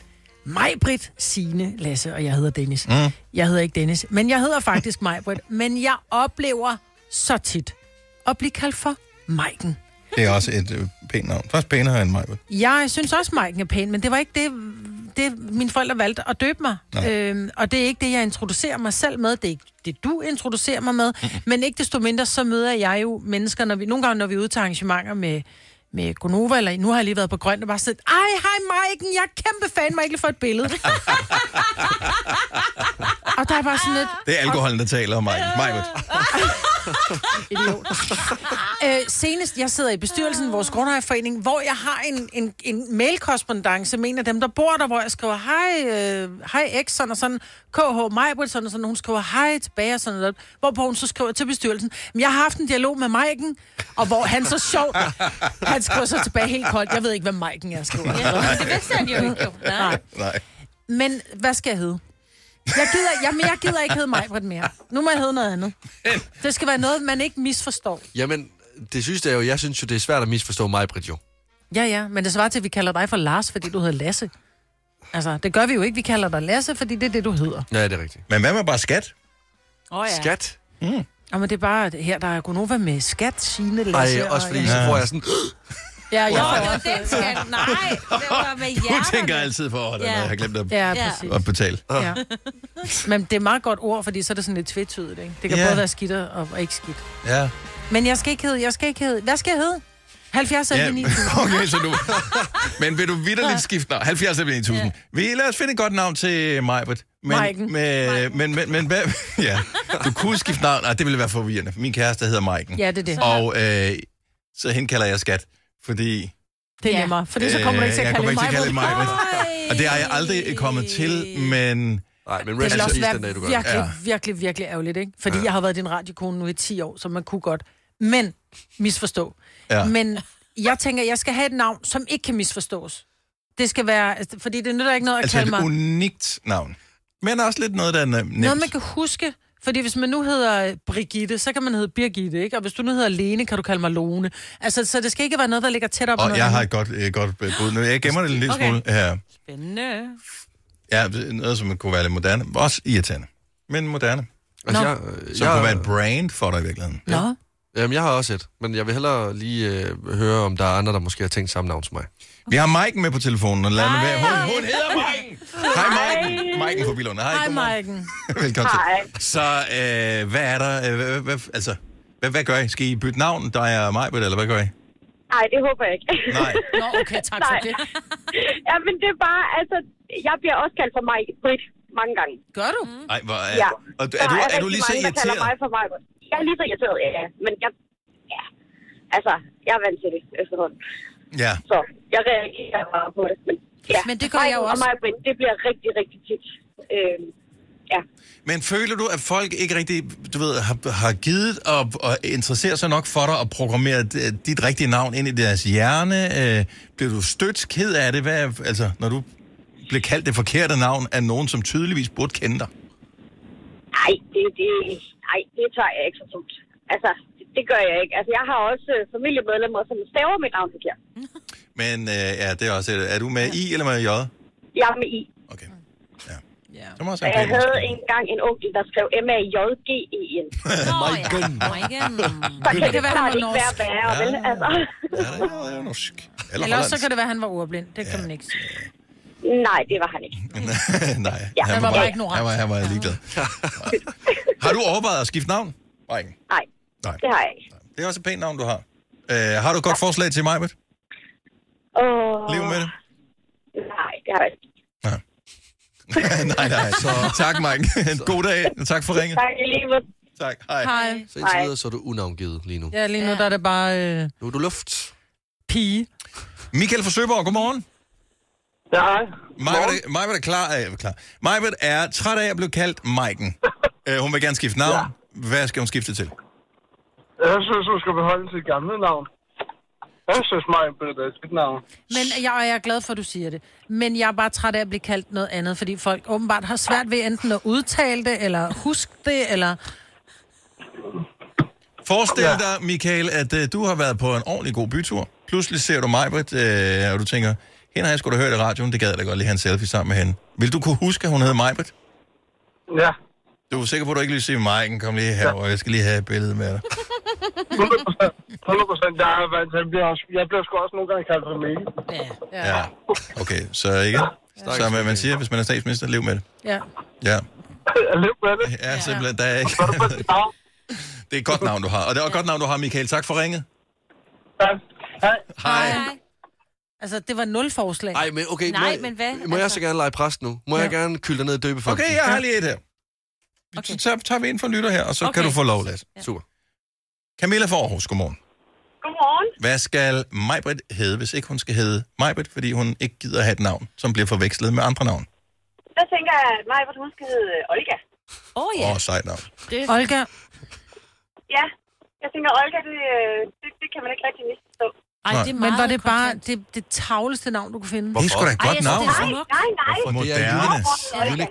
Speaker 2: mig, Britt, Signe, Lasse, og jeg hedder Dennis. Mm. Jeg hedder ikke Dennis, men jeg hedder faktisk mig, Britt. Men jeg oplever så tit at blive kaldt for Maiken.
Speaker 1: Det er også et øh, pænt navn. Faktisk pænere end mig. vel?
Speaker 2: Jeg synes også, Maiken er pæn, men det var ikke det, det mine forældre valgte at døbe mig.
Speaker 1: Nej.
Speaker 2: Øhm, og det er ikke det, jeg introducerer mig selv med. Det er ikke det, du introducerer mig med. Men ikke desto mindre, så møder jeg jo mennesker, når vi, nogle gange, når vi er ude til arrangementer med, med Gonova, eller nu har jeg lige været på Grøn, og bare sådan, ej, hej Maiken, jeg er kæmpe fan, Maiken, for et billede. og der er bare sådan lidt,
Speaker 1: Det er alkoholen, der taler om mig. Majbert.
Speaker 2: Idiot. øh, senest, jeg sidder i bestyrelsen i vores grundejerforening, hvor jeg har en, en, en mailkorrespondence med en af dem, der bor der, hvor jeg skriver, hej, øh, hej X, sådan og sådan, KH Majbrit, sådan og sådan, hun skriver, hej tilbage, og sådan noget, hvorpå hun så skriver til bestyrelsen, "Men jeg har haft en dialog med Maiken, og hvor han så sjov, han skriver så tilbage helt koldt, jeg ved ikke, hvad Maiken er, skriver.
Speaker 4: Ja, det vidste han jo ikke, jo. Nej.
Speaker 1: Nej.
Speaker 2: Men hvad skal jeg hedde? Jeg gider, jamen, jeg gider ikke hedde Majbrit mere. Nu må jeg hedde noget andet. Det skal være noget, man ikke misforstår.
Speaker 3: Jamen, det synes jeg jo, jeg synes jo, det er svært at misforstå mig, Britt, jo.
Speaker 2: Ja, ja, men det svarer til, at vi kalder dig for Lars, fordi du hedder Lasse. Altså, det gør vi jo ikke. Vi kalder dig Lasse, fordi det er det, du hedder.
Speaker 3: Ja, det er rigtigt.
Speaker 1: Men hvad med bare skat?
Speaker 2: Oh, ja.
Speaker 3: Skat?
Speaker 1: Mm.
Speaker 2: Og men det er bare at her, der er Gunova med skat, sine Lasse.
Speaker 3: Ej, også
Speaker 2: og-
Speaker 3: fordi så får jeg sådan...
Speaker 2: Ja, jeg
Speaker 4: Ja,
Speaker 2: får
Speaker 4: det
Speaker 2: også.
Speaker 4: var den skat. Nej, det var med
Speaker 1: Du
Speaker 4: hjerterne.
Speaker 1: tænker altid for, at
Speaker 4: Ja.
Speaker 1: jeg har glemt at,
Speaker 2: Ja, præcis.
Speaker 1: at betale.
Speaker 2: Ja. Men det er et meget godt ord, fordi så er det sådan lidt tvetydigt, ikke? Det kan
Speaker 1: Ja.
Speaker 2: både være skidt og, og ikke skidt.
Speaker 1: Ja.
Speaker 2: Men jeg skal ikke hedde, jeg skal ikke hedde. Hvad skal jeg hedde? 70
Speaker 1: Ja,
Speaker 2: yeah. 9000.
Speaker 1: okay, så du... Men vil du vidderligt skifte navn? 70 eller 1000. Ja. Vi lad os finde et godt navn til Majbert. Men,
Speaker 2: Maiken.
Speaker 1: men, men, men, men hvad... Ja, du kunne skifte navn. Nej, det ville være forvirrende. Min kæreste hedder Majken.
Speaker 2: Ja, det er det.
Speaker 1: Og øh, så hende kalder jeg skat, fordi...
Speaker 2: Det er nemmere, fordi så kommer du ikke til
Speaker 1: Øh,
Speaker 2: at kalde
Speaker 1: jeg
Speaker 2: mig.
Speaker 1: kommer ikke til at kalde Og det har jeg aldrig kommet til, men...
Speaker 3: Nej, men
Speaker 2: Det vil også være virkelig, virkelig, virkelig ærgerligt, ikke? Fordi ja. jeg har været din radiokone nu i 10 år, så man kunne godt. Men, misforstå.
Speaker 1: Ja.
Speaker 2: Ja. Men jeg tænker, jeg skal have et navn, som ikke kan misforstås. Det skal være, altså, fordi det nytter ikke noget at
Speaker 1: Altså
Speaker 2: kalde
Speaker 1: et
Speaker 2: mig...
Speaker 1: unikt navn. Men også lidt noget, der er nem- nemt.
Speaker 2: Noget, man kan huske. Fordi hvis man nu hedder Brigitte, så kan man hedde Birgitte, ikke? Og hvis du nu hedder Lene, kan du kalde mig Lone. Altså, så det skal ikke være noget, der ligger tæt op. ad
Speaker 1: Og
Speaker 2: noget
Speaker 1: jeg har
Speaker 2: andet.
Speaker 1: et godt, øh, godt øh, bud nu. Jeg gemmer det en lille
Speaker 2: Okay.
Speaker 1: smule her.
Speaker 4: Spændende.
Speaker 1: Ja, noget, som kunne være lidt moderne. Også irriterende. Men moderne.
Speaker 3: Altså,
Speaker 1: Nå.
Speaker 3: jeg,
Speaker 1: Som kunne være et brand for dig i virkeligheden.
Speaker 2: Nå.
Speaker 3: Jamen, jeg har også et, men jeg vil hellere lige øh, høre, om der er andre, der måske har tænkt samme navn som mig.
Speaker 1: Vi har Maiken med på telefonen, og lad mig være. Hun, hun hedder Maiken! Hej Maiken!
Speaker 2: Hej.
Speaker 1: Maiken fra Bilund. Hej,
Speaker 2: Hej,
Speaker 1: godmorgen.
Speaker 2: Maiken.
Speaker 1: Velkommen til. Så øh, hvad er der? Øh, hvad, hvad, altså, hvad, hvad gør I? Skal I bytte navn, der er Majbet, eller hvad gør I?
Speaker 17: Nej, det håber jeg ikke.
Speaker 1: Nej.
Speaker 17: Nå, okay, tak for det. ja, men det er bare, altså, jeg bliver også kaldt for mig Britt mange gange. Mm.
Speaker 2: Gør du?
Speaker 1: Ej, hvor er,
Speaker 17: Ja.
Speaker 1: og,
Speaker 17: Der
Speaker 1: er, du, er du
Speaker 17: rigtig
Speaker 1: lige så
Speaker 17: mange, der kalder
Speaker 1: irriteret?
Speaker 17: Mig for mig. Jeg er lige så irriteret, ja. ja. Men jeg, ja, altså, jeg er vant til det efterhånden.
Speaker 1: Ja.
Speaker 17: Så jeg reagerer bare på det. Men, ja.
Speaker 2: Men det gør jeg jo
Speaker 17: Og
Speaker 2: også.
Speaker 17: mig, Britt, det bliver rigtig, rigtig tit. Øhm,
Speaker 1: Men føler du, at folk ikke rigtig, du ved, har, har givet og, og interesserer sig nok for dig og programmeret øh, dit rigtige navn ind i deres hjerne? Øh, bliver du stødt ked af det? Hvad, er- altså, når du bliver kaldt det forkerte navn af nogen, som tydeligvis burde kende dig?
Speaker 17: Nej, det, det, nej, det tager jeg ikke så tungt. Altså, det, det gør jeg ikke. Altså, jeg har også øh, familiemedlemmer, som staver mit navn forkert.
Speaker 1: Men øh, ja, det er også et, Er du med I eller med J?
Speaker 17: Jeg er med I.
Speaker 1: Som også
Speaker 17: Og
Speaker 1: er
Speaker 17: jeg
Speaker 1: en pæn
Speaker 17: havde engang en onkel, der skrev M-A-J-G-E-N. Så kan
Speaker 2: Det
Speaker 17: det,
Speaker 2: kan være, han var
Speaker 17: snart ikke være
Speaker 2: norsk.
Speaker 17: værre, vel?
Speaker 2: Ja.
Speaker 17: Altså,
Speaker 2: Eller, Eller også så kan det være, at han var ordblind. Det kan man ikke sige.
Speaker 17: nej, det var han ikke.
Speaker 1: Mm. Nej,
Speaker 17: Ja,
Speaker 2: han var bare ignorant.
Speaker 1: Han var, han var ligeglad. har du overvejet at skifte navn? Nej.
Speaker 17: Nej,
Speaker 1: Nej.
Speaker 17: det har jeg ikke.
Speaker 1: Det er også et pænt navn, du har. Øh, har du et godt forslag til mig,
Speaker 17: Åh,
Speaker 1: Lev med det.
Speaker 17: nej, det har jeg ikke.
Speaker 1: nej, nej. Så, tak, Mike. En god dag, og tak for ringet.
Speaker 17: Tak, i lige måde.
Speaker 1: Tak, hej.
Speaker 2: Hej.
Speaker 3: Så indtil videre, så er du unavngivet lige nu.
Speaker 2: Ja, lige nu der er det bare... Øh,
Speaker 3: Nu er du luft.
Speaker 2: pige.
Speaker 1: Michael fra Søborg, godmorgen.
Speaker 18: Ja, hej.
Speaker 1: Majbert er klar af, klar. Majbert er træt af at blive kaldt Maiken. øh, hun vil gerne skifte navn. Ja. Hvad skal hun skifte til?
Speaker 18: Jeg synes, du skal beholde sit gamle navn. Jeg synes, mig er et skidt navn.
Speaker 2: Men jeg, og jeg er glad for, at du siger det. Men jeg er bare træt af at blive kaldt noget andet, fordi folk åbenbart har svært ved enten at udtale det, eller huske det, eller...
Speaker 1: Forestil ja. dig, Michael, at øh, du har været på en ordentlig god bytur. Pludselig ser du Majbert, øh, og du tænker, hende har jeg sgu da hørt i radioen, det gad jeg da godt lige have en selfie sammen med hende. Vil du kunne huske, at hun hed Majbert?
Speaker 18: Ja.
Speaker 1: Du er sikker på, at du ikke lige siger, Maiken, kom lige herover, jeg skal lige have et billede med dig.
Speaker 18: 100 procent, jeg er vant til. Jeg bliver, også, jeg bliver sgu også nogle gange kaldt for Mikkel.
Speaker 1: Ja. Okay, så igen. Ja. Som øh, man siger, hvis man er statsminister, lev med det.
Speaker 2: Ja.
Speaker 1: Ja.
Speaker 18: lev med det.
Speaker 1: Ja, simpelthen. Der er ikke... det er et godt navn, du har. Og det er også et godt navn, du har, Michael. Tak for ringet.
Speaker 18: Hej.
Speaker 1: Hej.
Speaker 2: Altså, det var nul forslag.
Speaker 3: Nej, men okay.
Speaker 2: Nej,
Speaker 3: må,
Speaker 2: men hvad? Altså,
Speaker 3: Må jeg så gerne lege præst nu? Må ja. jeg gerne kylde dig ned i døbefonden?
Speaker 1: Okay, jeg har lige et her. Okay. Så tager, tager vi ind for en lytter her, og så okay. kan du få lov, Lasse.
Speaker 3: Ja. Super.
Speaker 1: Camilla fra Aarhus, godmorgen.
Speaker 17: Godmorgen.
Speaker 1: Hvad skal Majbrit hedde, hvis ikke hun skal hedde Majbrit, fordi hun ikke gider have et navn, som bliver forvekslet med andre navn?
Speaker 17: Der tænker jeg, at mig, hvor hun skal hedde øh, Olga.
Speaker 4: Åh, oh,
Speaker 1: Åh, yeah. oh, sejt navn.
Speaker 2: Olga.
Speaker 17: Ja, jeg tænker, Olga, det, øh, det, det kan man ikke rigtig misforstå.
Speaker 2: Ej,
Speaker 1: Nej.
Speaker 2: det er meget men var det bare det, det tavleste navn, du kunne finde?
Speaker 1: Det er sgu da et Hvorfor? godt navn.
Speaker 17: Nej, nej, nej.
Speaker 1: Moderne.
Speaker 2: Olga.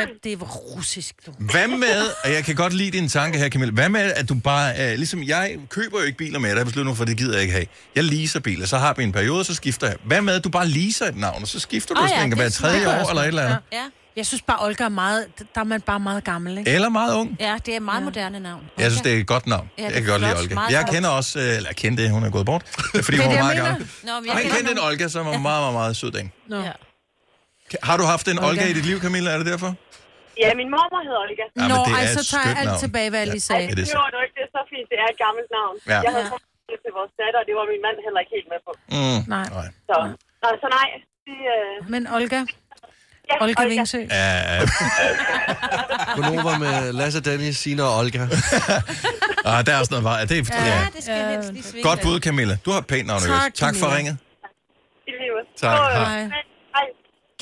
Speaker 2: Olga, det er russisk, du.
Speaker 1: Hvad med, og jeg kan godt lide din tanke her, Camille, hvad med, at du bare, øh, ligesom jeg køber jo ikke biler med, der har besluttet nu, for det gider jeg ikke have. Jeg leaser biler, så har vi en periode, så skifter jeg. Hvad med, at du bare leaser et navn, og så skifter
Speaker 2: Ah,
Speaker 1: du, oh, ja, hver tredje år eller et eller andet?
Speaker 4: Ja. ja.
Speaker 2: Jeg synes bare, Olga er meget... Der er man bare meget gammel, ikke?
Speaker 1: Eller meget ung.
Speaker 4: Ja, det er et meget ja. moderne navn.
Speaker 1: Jeg synes, det er et godt navn.
Speaker 4: Ja,
Speaker 1: Ja, jeg
Speaker 4: det
Speaker 1: kan
Speaker 4: er
Speaker 1: godt lide
Speaker 4: flot.
Speaker 1: Olga.
Speaker 4: Meget
Speaker 1: Jeg
Speaker 4: flot.
Speaker 1: kender også, øh, eller jeg kendte, hun er gået bort, fordi hun var meget gammel.
Speaker 4: Nå, men
Speaker 1: Jeg
Speaker 4: jeg
Speaker 1: kendte en Olga, som var meget, meget, meget sød dame.
Speaker 2: Nå. Ja.
Speaker 1: Kan- Har du haft en Olga i dit liv, Camilla? Er det derfor?
Speaker 17: Ja, min mormor hedder Olga.
Speaker 1: Ja, men
Speaker 2: Nå,
Speaker 1: det er
Speaker 2: ej,
Speaker 1: et
Speaker 2: så tager jeg
Speaker 1: skønt
Speaker 2: alt
Speaker 1: navn.
Speaker 2: tilbage, hvad jeg
Speaker 1: Ja,
Speaker 2: lige sagde.
Speaker 1: det er så.
Speaker 17: gjorde du ikke, det er så fint. Det er et gammelt navn.
Speaker 1: Ja.
Speaker 17: Jeg havde fået det til vores datter, og det var min mand heller ikke helt med på.
Speaker 1: Mm.
Speaker 2: Nej.
Speaker 17: Så, Nå, så nej, det, øh,
Speaker 2: Men Olga? Ja, Olga Vingsø?
Speaker 1: Ja.
Speaker 3: Gonova med Lasse, Danny, Sina og Olga.
Speaker 1: Ah, der er også noget vej. Det er, ja.
Speaker 4: det skal helst lige svinge.
Speaker 1: Godt bud, Camilla. Du har et pænt navn, i øvrigt. Tak for ringet.
Speaker 17: i livet.
Speaker 1: Tak. Hej.
Speaker 2: Hej.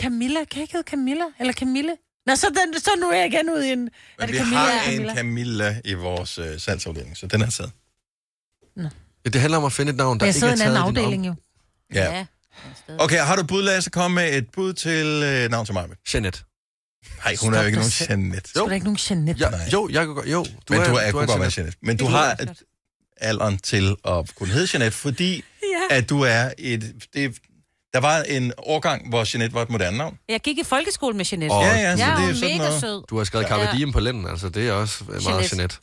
Speaker 2: Camilla? Kan jeg ikke hedde Camilla? Eller Camille? Nå, så, den, så nu er jeg igen ude i en... Er
Speaker 1: Men
Speaker 2: det
Speaker 1: vi
Speaker 2: Camilla?
Speaker 1: har
Speaker 2: eller
Speaker 1: en Camilla i vores øh, salgsafdeling, så den er taget.
Speaker 3: Ja, det handler om at finde et navn, der
Speaker 2: Jeg
Speaker 3: ikke
Speaker 2: sidder
Speaker 3: er
Speaker 2: i en anden
Speaker 3: taget i din
Speaker 2: afdeling jo.
Speaker 1: Ja. Okay, har du et bud, Lasse? Kom med et bud til øh, navn til mig.
Speaker 3: Jeanette.
Speaker 1: Nej, hun er jo
Speaker 3: Stop
Speaker 1: ikke
Speaker 3: dig
Speaker 1: nogen
Speaker 3: selv.
Speaker 1: Jeanette.
Speaker 2: Så er der ikke nogen Jeanette.
Speaker 3: Ja, jo, jeg kunne godt, jo.
Speaker 1: Du men er, du er,
Speaker 3: en
Speaker 1: kunne godt være Jeanette. Men du har et- alderen til at kunne hedde Jeanette, fordi
Speaker 4: Ja.
Speaker 1: ja. at du er et... Det, der var en årgang, hvor Jeanette var et moderne navn.
Speaker 4: Jeg gik i folkeskole med Jeanette.
Speaker 1: Og- Ja, ja, så
Speaker 4: jeg
Speaker 1: det er
Speaker 4: jo
Speaker 1: sådan
Speaker 4: mega
Speaker 1: noget.
Speaker 4: sød.
Speaker 3: Du har skrevet Carpe
Speaker 4: Ja.
Speaker 3: Diem på lænden, altså det er også øh, meget
Speaker 4: Jeanette.
Speaker 3: Jeanette.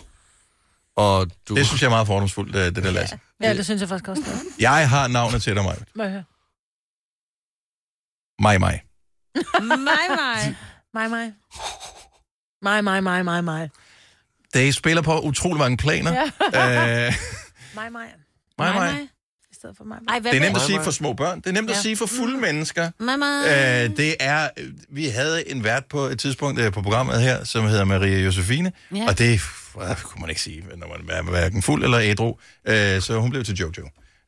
Speaker 3: Og du...
Speaker 1: Det synes jeg er meget fordomsfuldt, øh, det der, Lasse.
Speaker 2: Ja, det synes jeg faktisk også. det er.
Speaker 1: Jeg har navnet til dig, Maj.
Speaker 2: Må jeg høre?
Speaker 1: Maj, Maj.
Speaker 2: Mig, mig. Mig, mig. Mig, mig, mig, mig, mig.
Speaker 1: Det spiller på utrolig mange planer.
Speaker 2: Ja.
Speaker 1: Øh,
Speaker 2: Mig, mig.
Speaker 1: Maj, Maj.
Speaker 2: i stedet for mig.
Speaker 4: Ej, hvad
Speaker 1: det er nemt
Speaker 4: med-
Speaker 1: at sige for små børn. Det er nemt ja. Mm.
Speaker 2: Ja.
Speaker 1: at sige for fulde mennesker.
Speaker 4: Mama.
Speaker 1: Øh, det er, øh, vi havde en vært på et tidspunkt øh, på programmet her, som hedder Maria Josefine,
Speaker 4: Ja.
Speaker 1: ja. og det øh, kunne man ikke sige, når man er hverken fuld eller ædru, øh, så hun blev til Jojo.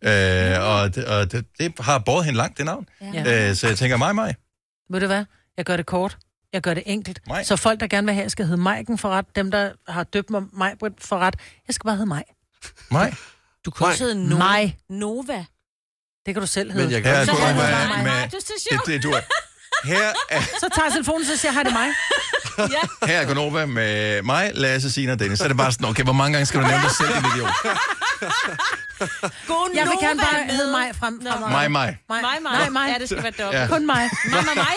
Speaker 1: Øh, og det, og det, det har båret hende langt, det navn.
Speaker 2: Ja.
Speaker 1: Ja. Øh, så jeg tænker, mig, mig.
Speaker 2: Ved du hvad? Jeg gør det kort. Jeg gør det enkelt. Maj. Så folk, der gerne vil have, jeg skal hedde Majken for ret. Dem, der har døbt mig Majbrit for ret. Jeg skal bare hedde Maj.
Speaker 1: Mig.
Speaker 2: Du kan også hedde no- Maj.
Speaker 4: Nova.
Speaker 2: Det kan du selv hedde.
Speaker 1: Men jeg kan
Speaker 2: så
Speaker 1: også godt
Speaker 2: hedder du
Speaker 1: være
Speaker 2: bare mig.
Speaker 1: med-
Speaker 4: Radiostation.
Speaker 1: Det, det, du er. Her er,
Speaker 2: Så tager jeg telefonen, så siger jeg, hej, det er mig.
Speaker 1: her er Gunova med mig, Lasse, Signe og Dennis. Så er det bare sådan, okay, hvor mange gange skal du nævne dig selv, din idiot?
Speaker 2: God jeg vil gerne
Speaker 4: Nova
Speaker 2: bare
Speaker 4: med.
Speaker 2: hedde mig frem. frem.
Speaker 1: Mig, mig.
Speaker 2: Mig,
Speaker 4: mig.
Speaker 2: Nej, mig.
Speaker 4: Ja, det skal være dobbelt.
Speaker 1: Ja.
Speaker 2: Kun mig.
Speaker 4: Mig, mig, mig.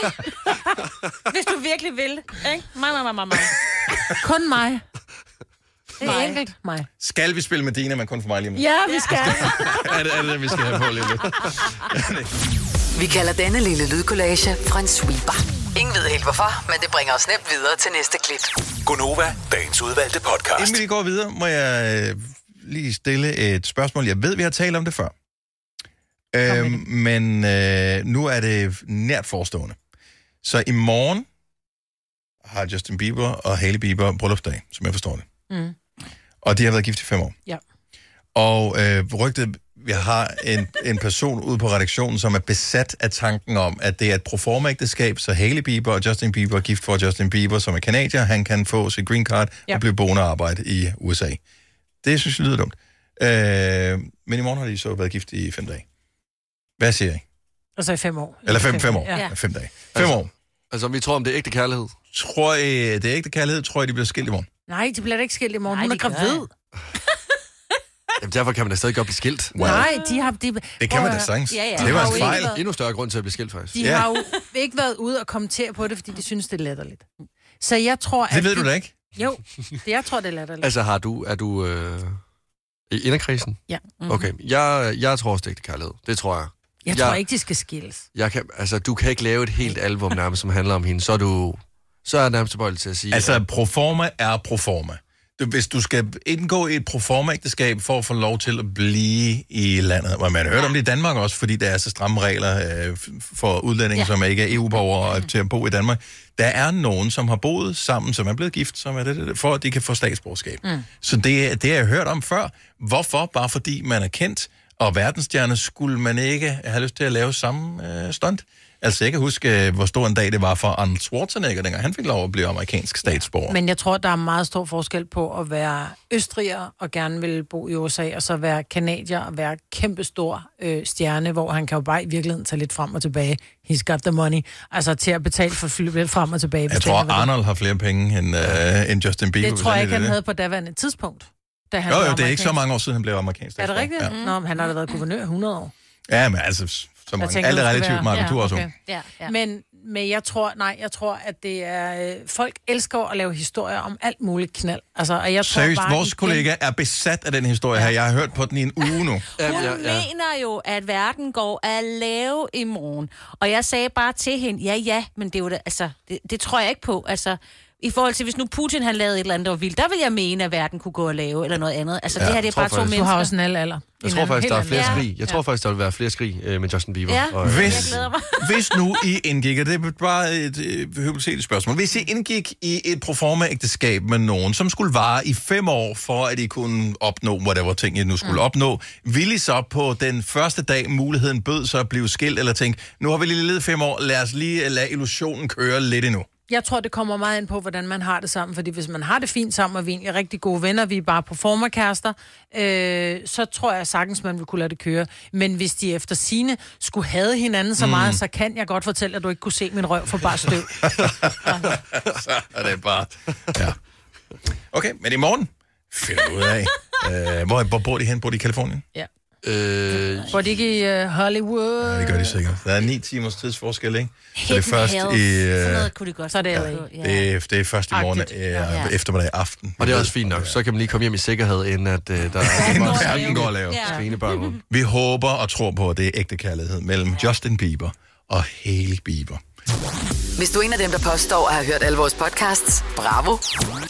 Speaker 4: Hvis du virkelig vil. Ikke? Mig, mig, mig, mig, mig.
Speaker 2: Kun mig. Det er
Speaker 4: Mig.
Speaker 2: enkelt. Mig.
Speaker 1: Skal vi spille med Dina, men kun for mig lige om lidt?
Speaker 2: Ja, vi skal.
Speaker 1: er, det, er det det, vi skal have på lige om lidt?
Speaker 5: Vi kalder denne lille lydkollage en sweeper. Ingen ved helt hvorfor, men det bringer os nemt videre til næste klip.
Speaker 8: Gunova, dagens udvalgte podcast.
Speaker 1: Inden vi går videre, må jeg øh, lige stille et spørgsmål. Jeg ved, vi har talt om det før. Øh, men øh, nu er det nært forestående. Så i morgen har Justin Bieber og Hailey Bieber bryllupsdag, som jeg forstår det.
Speaker 2: Mm.
Speaker 1: Og de har været gift i fem år.
Speaker 2: Ja.
Speaker 1: Og øh, rygtet, vi har en, en person ude på redaktionen, som er besat af tanken om, at det er et proformaægteskab, så Hailey Bieber og Justin Bieber er gift for Justin Bieber, som er kanadier, han kan få sit green card ja.
Speaker 2: Ja.
Speaker 1: og blive boende og arbejde i USA. Det synes jeg lyder dumt. Øh, men i morgen har de så været gift i fem dage. Hvad siger I?
Speaker 2: Altså i fem år.
Speaker 1: Eller fem, fem år.
Speaker 2: Ja.
Speaker 1: Ja. Fem dage. Fem
Speaker 3: Altså-
Speaker 1: år.
Speaker 3: Altså, om vi tror, om det er ægte kærlighed?
Speaker 1: Tror I, det er ægte kærlighed? Tror I, de bliver skilt i morgen?
Speaker 2: Nej, de bliver da ikke skilt i morgen. Nej, Hun er
Speaker 4: de gør
Speaker 2: gravid.
Speaker 3: Jamen, derfor kan man da stadig godt blive skilt.
Speaker 2: Nej, de har... De,
Speaker 1: Det
Speaker 2: Prøv
Speaker 1: kan
Speaker 2: at
Speaker 1: man da
Speaker 2: høre.
Speaker 1: sagtens.
Speaker 2: Ja, ja.
Speaker 1: Det var
Speaker 2: De har
Speaker 1: en
Speaker 2: jo ikke
Speaker 1: fejl.
Speaker 2: været-
Speaker 3: Endnu større grund til at blive skilt, faktisk.
Speaker 2: De har jo ikke været ude og kommentere på det, fordi de synes, det er latterligt. Så jeg tror, at...
Speaker 3: Det ved
Speaker 2: de-
Speaker 3: du da ikke?
Speaker 2: Jo, det, jeg tror, det er latterligt.
Speaker 3: Altså, har du, er du øh, i inderkrisen?
Speaker 2: Ja. Mhm.
Speaker 3: Okay, jeg, jeg tror også, det er ægte kærlighed. Det tror jeg.
Speaker 2: Jeg tror ikke, de skal skilles.
Speaker 3: Jeg kan, altså, du kan ikke lave et helt album nærmest, som handler om hende. Så er du... Så er jeg nærmest tilbøjelig til at sige...
Speaker 1: Altså, proforma er proforma. Du, hvis du skal indgå i et proforma-ægteskab for at få lov til at blive i landet, og man har hørt om det i Danmark også, fordi der er så stramme regler øh, f- for udlændinge, ja.
Speaker 6: Ja.
Speaker 1: som ikke er EU-borgere og til at bo i Danmark. Der er nogen, som har boet sammen, som er blevet gift, som er det, det, det, for at de kan få statsborgerskab. Mm. Så det, er- det har jeg hørt om før. Hvorfor? Bare fordi man er kendt, og verdensstjerne skulle man ikke have lyst til at lave samme øh, stunt. Altså, jeg kan huske, øh, hvor stor en dag det var for Arnold Schwarzenegger, dengang han fik lov at blive amerikansk statsborger.
Speaker 2: Men jeg tror, der er meget stor forskel på at være østriger og gerne vil bo i USA, og så være kanadier og være kæmpestor øh, stjerne, hvor han kan jo bare i virkeligheden tage lidt frem og tilbage. He's got the money. Altså til at betale for fly lidt frem og tilbage.
Speaker 1: Jeg
Speaker 2: hvis
Speaker 1: tror,
Speaker 2: det er, hvad det-
Speaker 1: Arnold har flere penge end, øh, end Justin Bieber.
Speaker 2: Det
Speaker 1: hvis
Speaker 2: tror jeg
Speaker 1: er
Speaker 2: ikke, han havde på daværende tidspunkt. Da han blev
Speaker 1: Jo, jo, det er ikke
Speaker 2: amerikansk.
Speaker 1: så mange år siden, han blev amerikansk.
Speaker 2: Er det
Speaker 1: statsborger.
Speaker 2: rigtigt? Ja. Nå, men han har da været guvernør i 100 år.
Speaker 1: Ja, ja men altså, så mange.
Speaker 2: Jeg tænker,
Speaker 1: Alt
Speaker 2: det
Speaker 1: er
Speaker 2: skal
Speaker 1: relativt,
Speaker 2: være-
Speaker 1: Marco, du er også
Speaker 2: okay.
Speaker 1: ung.
Speaker 2: Ja, ja. Men, men jeg tror, nej, jeg tror, at det er... øh, Folk elsker at lave historier om alt muligt knald. Altså, og jeg tror
Speaker 1: Seriøst,
Speaker 2: bare,
Speaker 1: vores
Speaker 2: igen-
Speaker 1: kollega er besat af den historie her. Jeg har hørt på den i en uge nu.
Speaker 4: Hun ja, ja. mener jo, at verden går at lave i morgen. Og jeg sagde bare til hende, ja, ja, men det, er jo da, altså, det, det tror jeg ikke på. Altså, I forhold til, hvis nu Putin han lavede et eller andet, der var vildt, der vil jeg mene, at verden kunne gå og lave, eller noget andet. Altså,
Speaker 3: Ja,
Speaker 4: ja, det her, det
Speaker 3: jeg
Speaker 4: er
Speaker 3: tror
Speaker 4: bare to
Speaker 3: faktisk-
Speaker 4: mennesker.
Speaker 3: Du har
Speaker 2: også en alle alder.
Speaker 3: Jeg tror faktisk, der er flere skrig. Jeg tror faktisk, der vil være flere skrig øh, med Justin Bieber.
Speaker 4: Ja.
Speaker 3: øh,
Speaker 1: Hvis, hvis nu I indgik, og det er bare et øh, hypotetisk spørgsmål, hvis I indgik i et proforma-ægteskab med nogen, som skulle vare i fem år, for at I kunne opnå, whatever ting I nu skulle mm. opnå, ville I så på den første dag muligheden bød sig at blive skilt, eller tænke, nu har vi lige levet fem år, lad os lige øh, lade illusionen køre lidt endnu?
Speaker 2: Jeg tror, det kommer meget ind på, hvordan man har det sammen. Fordi hvis man har det fint sammen, og vi er egentlig rigtig gode venner, vi er bare performerkærester, øh, så tror jeg sagtens, man vil kunne lade det køre. Men hvis de efter sine skulle have hinanden så
Speaker 1: Mm.
Speaker 2: meget, så kan jeg godt fortælle, at du ikke kunne se min røv for bare støv.
Speaker 1: så er det bare... Ja. Okay, men i morgen finder vi ud af. Øh, hvor, hvor bor de hen? Bor de i Kalifornien?
Speaker 2: Ja.
Speaker 1: Øh,
Speaker 2: Hvor det ikke i øh, Hollywood...
Speaker 1: det gør de sikkert. Der er ni timers tidsforskel, ikke? Så det er
Speaker 2: Hidden
Speaker 1: først
Speaker 2: Hills.
Speaker 1: i...
Speaker 2: Sådan
Speaker 1: Øh,
Speaker 2: noget kunne de godt. Så er det LA.
Speaker 1: det, er, det er først i morgen øh, ja. eftermiddag aften.
Speaker 3: Og det er også fint nok. Så kan man lige komme hjem i sikkerhed, inden at øh, der er...
Speaker 1: Verden går at lave.
Speaker 3: Ja. Svinebørn.
Speaker 1: Vi håber og tror på, at det er ægte kærlighed mellem Justin Bieber og Hailey Bieber.
Speaker 5: Hvis du er en af dem, der påstår at have hørt alle vores podcasts, bravo.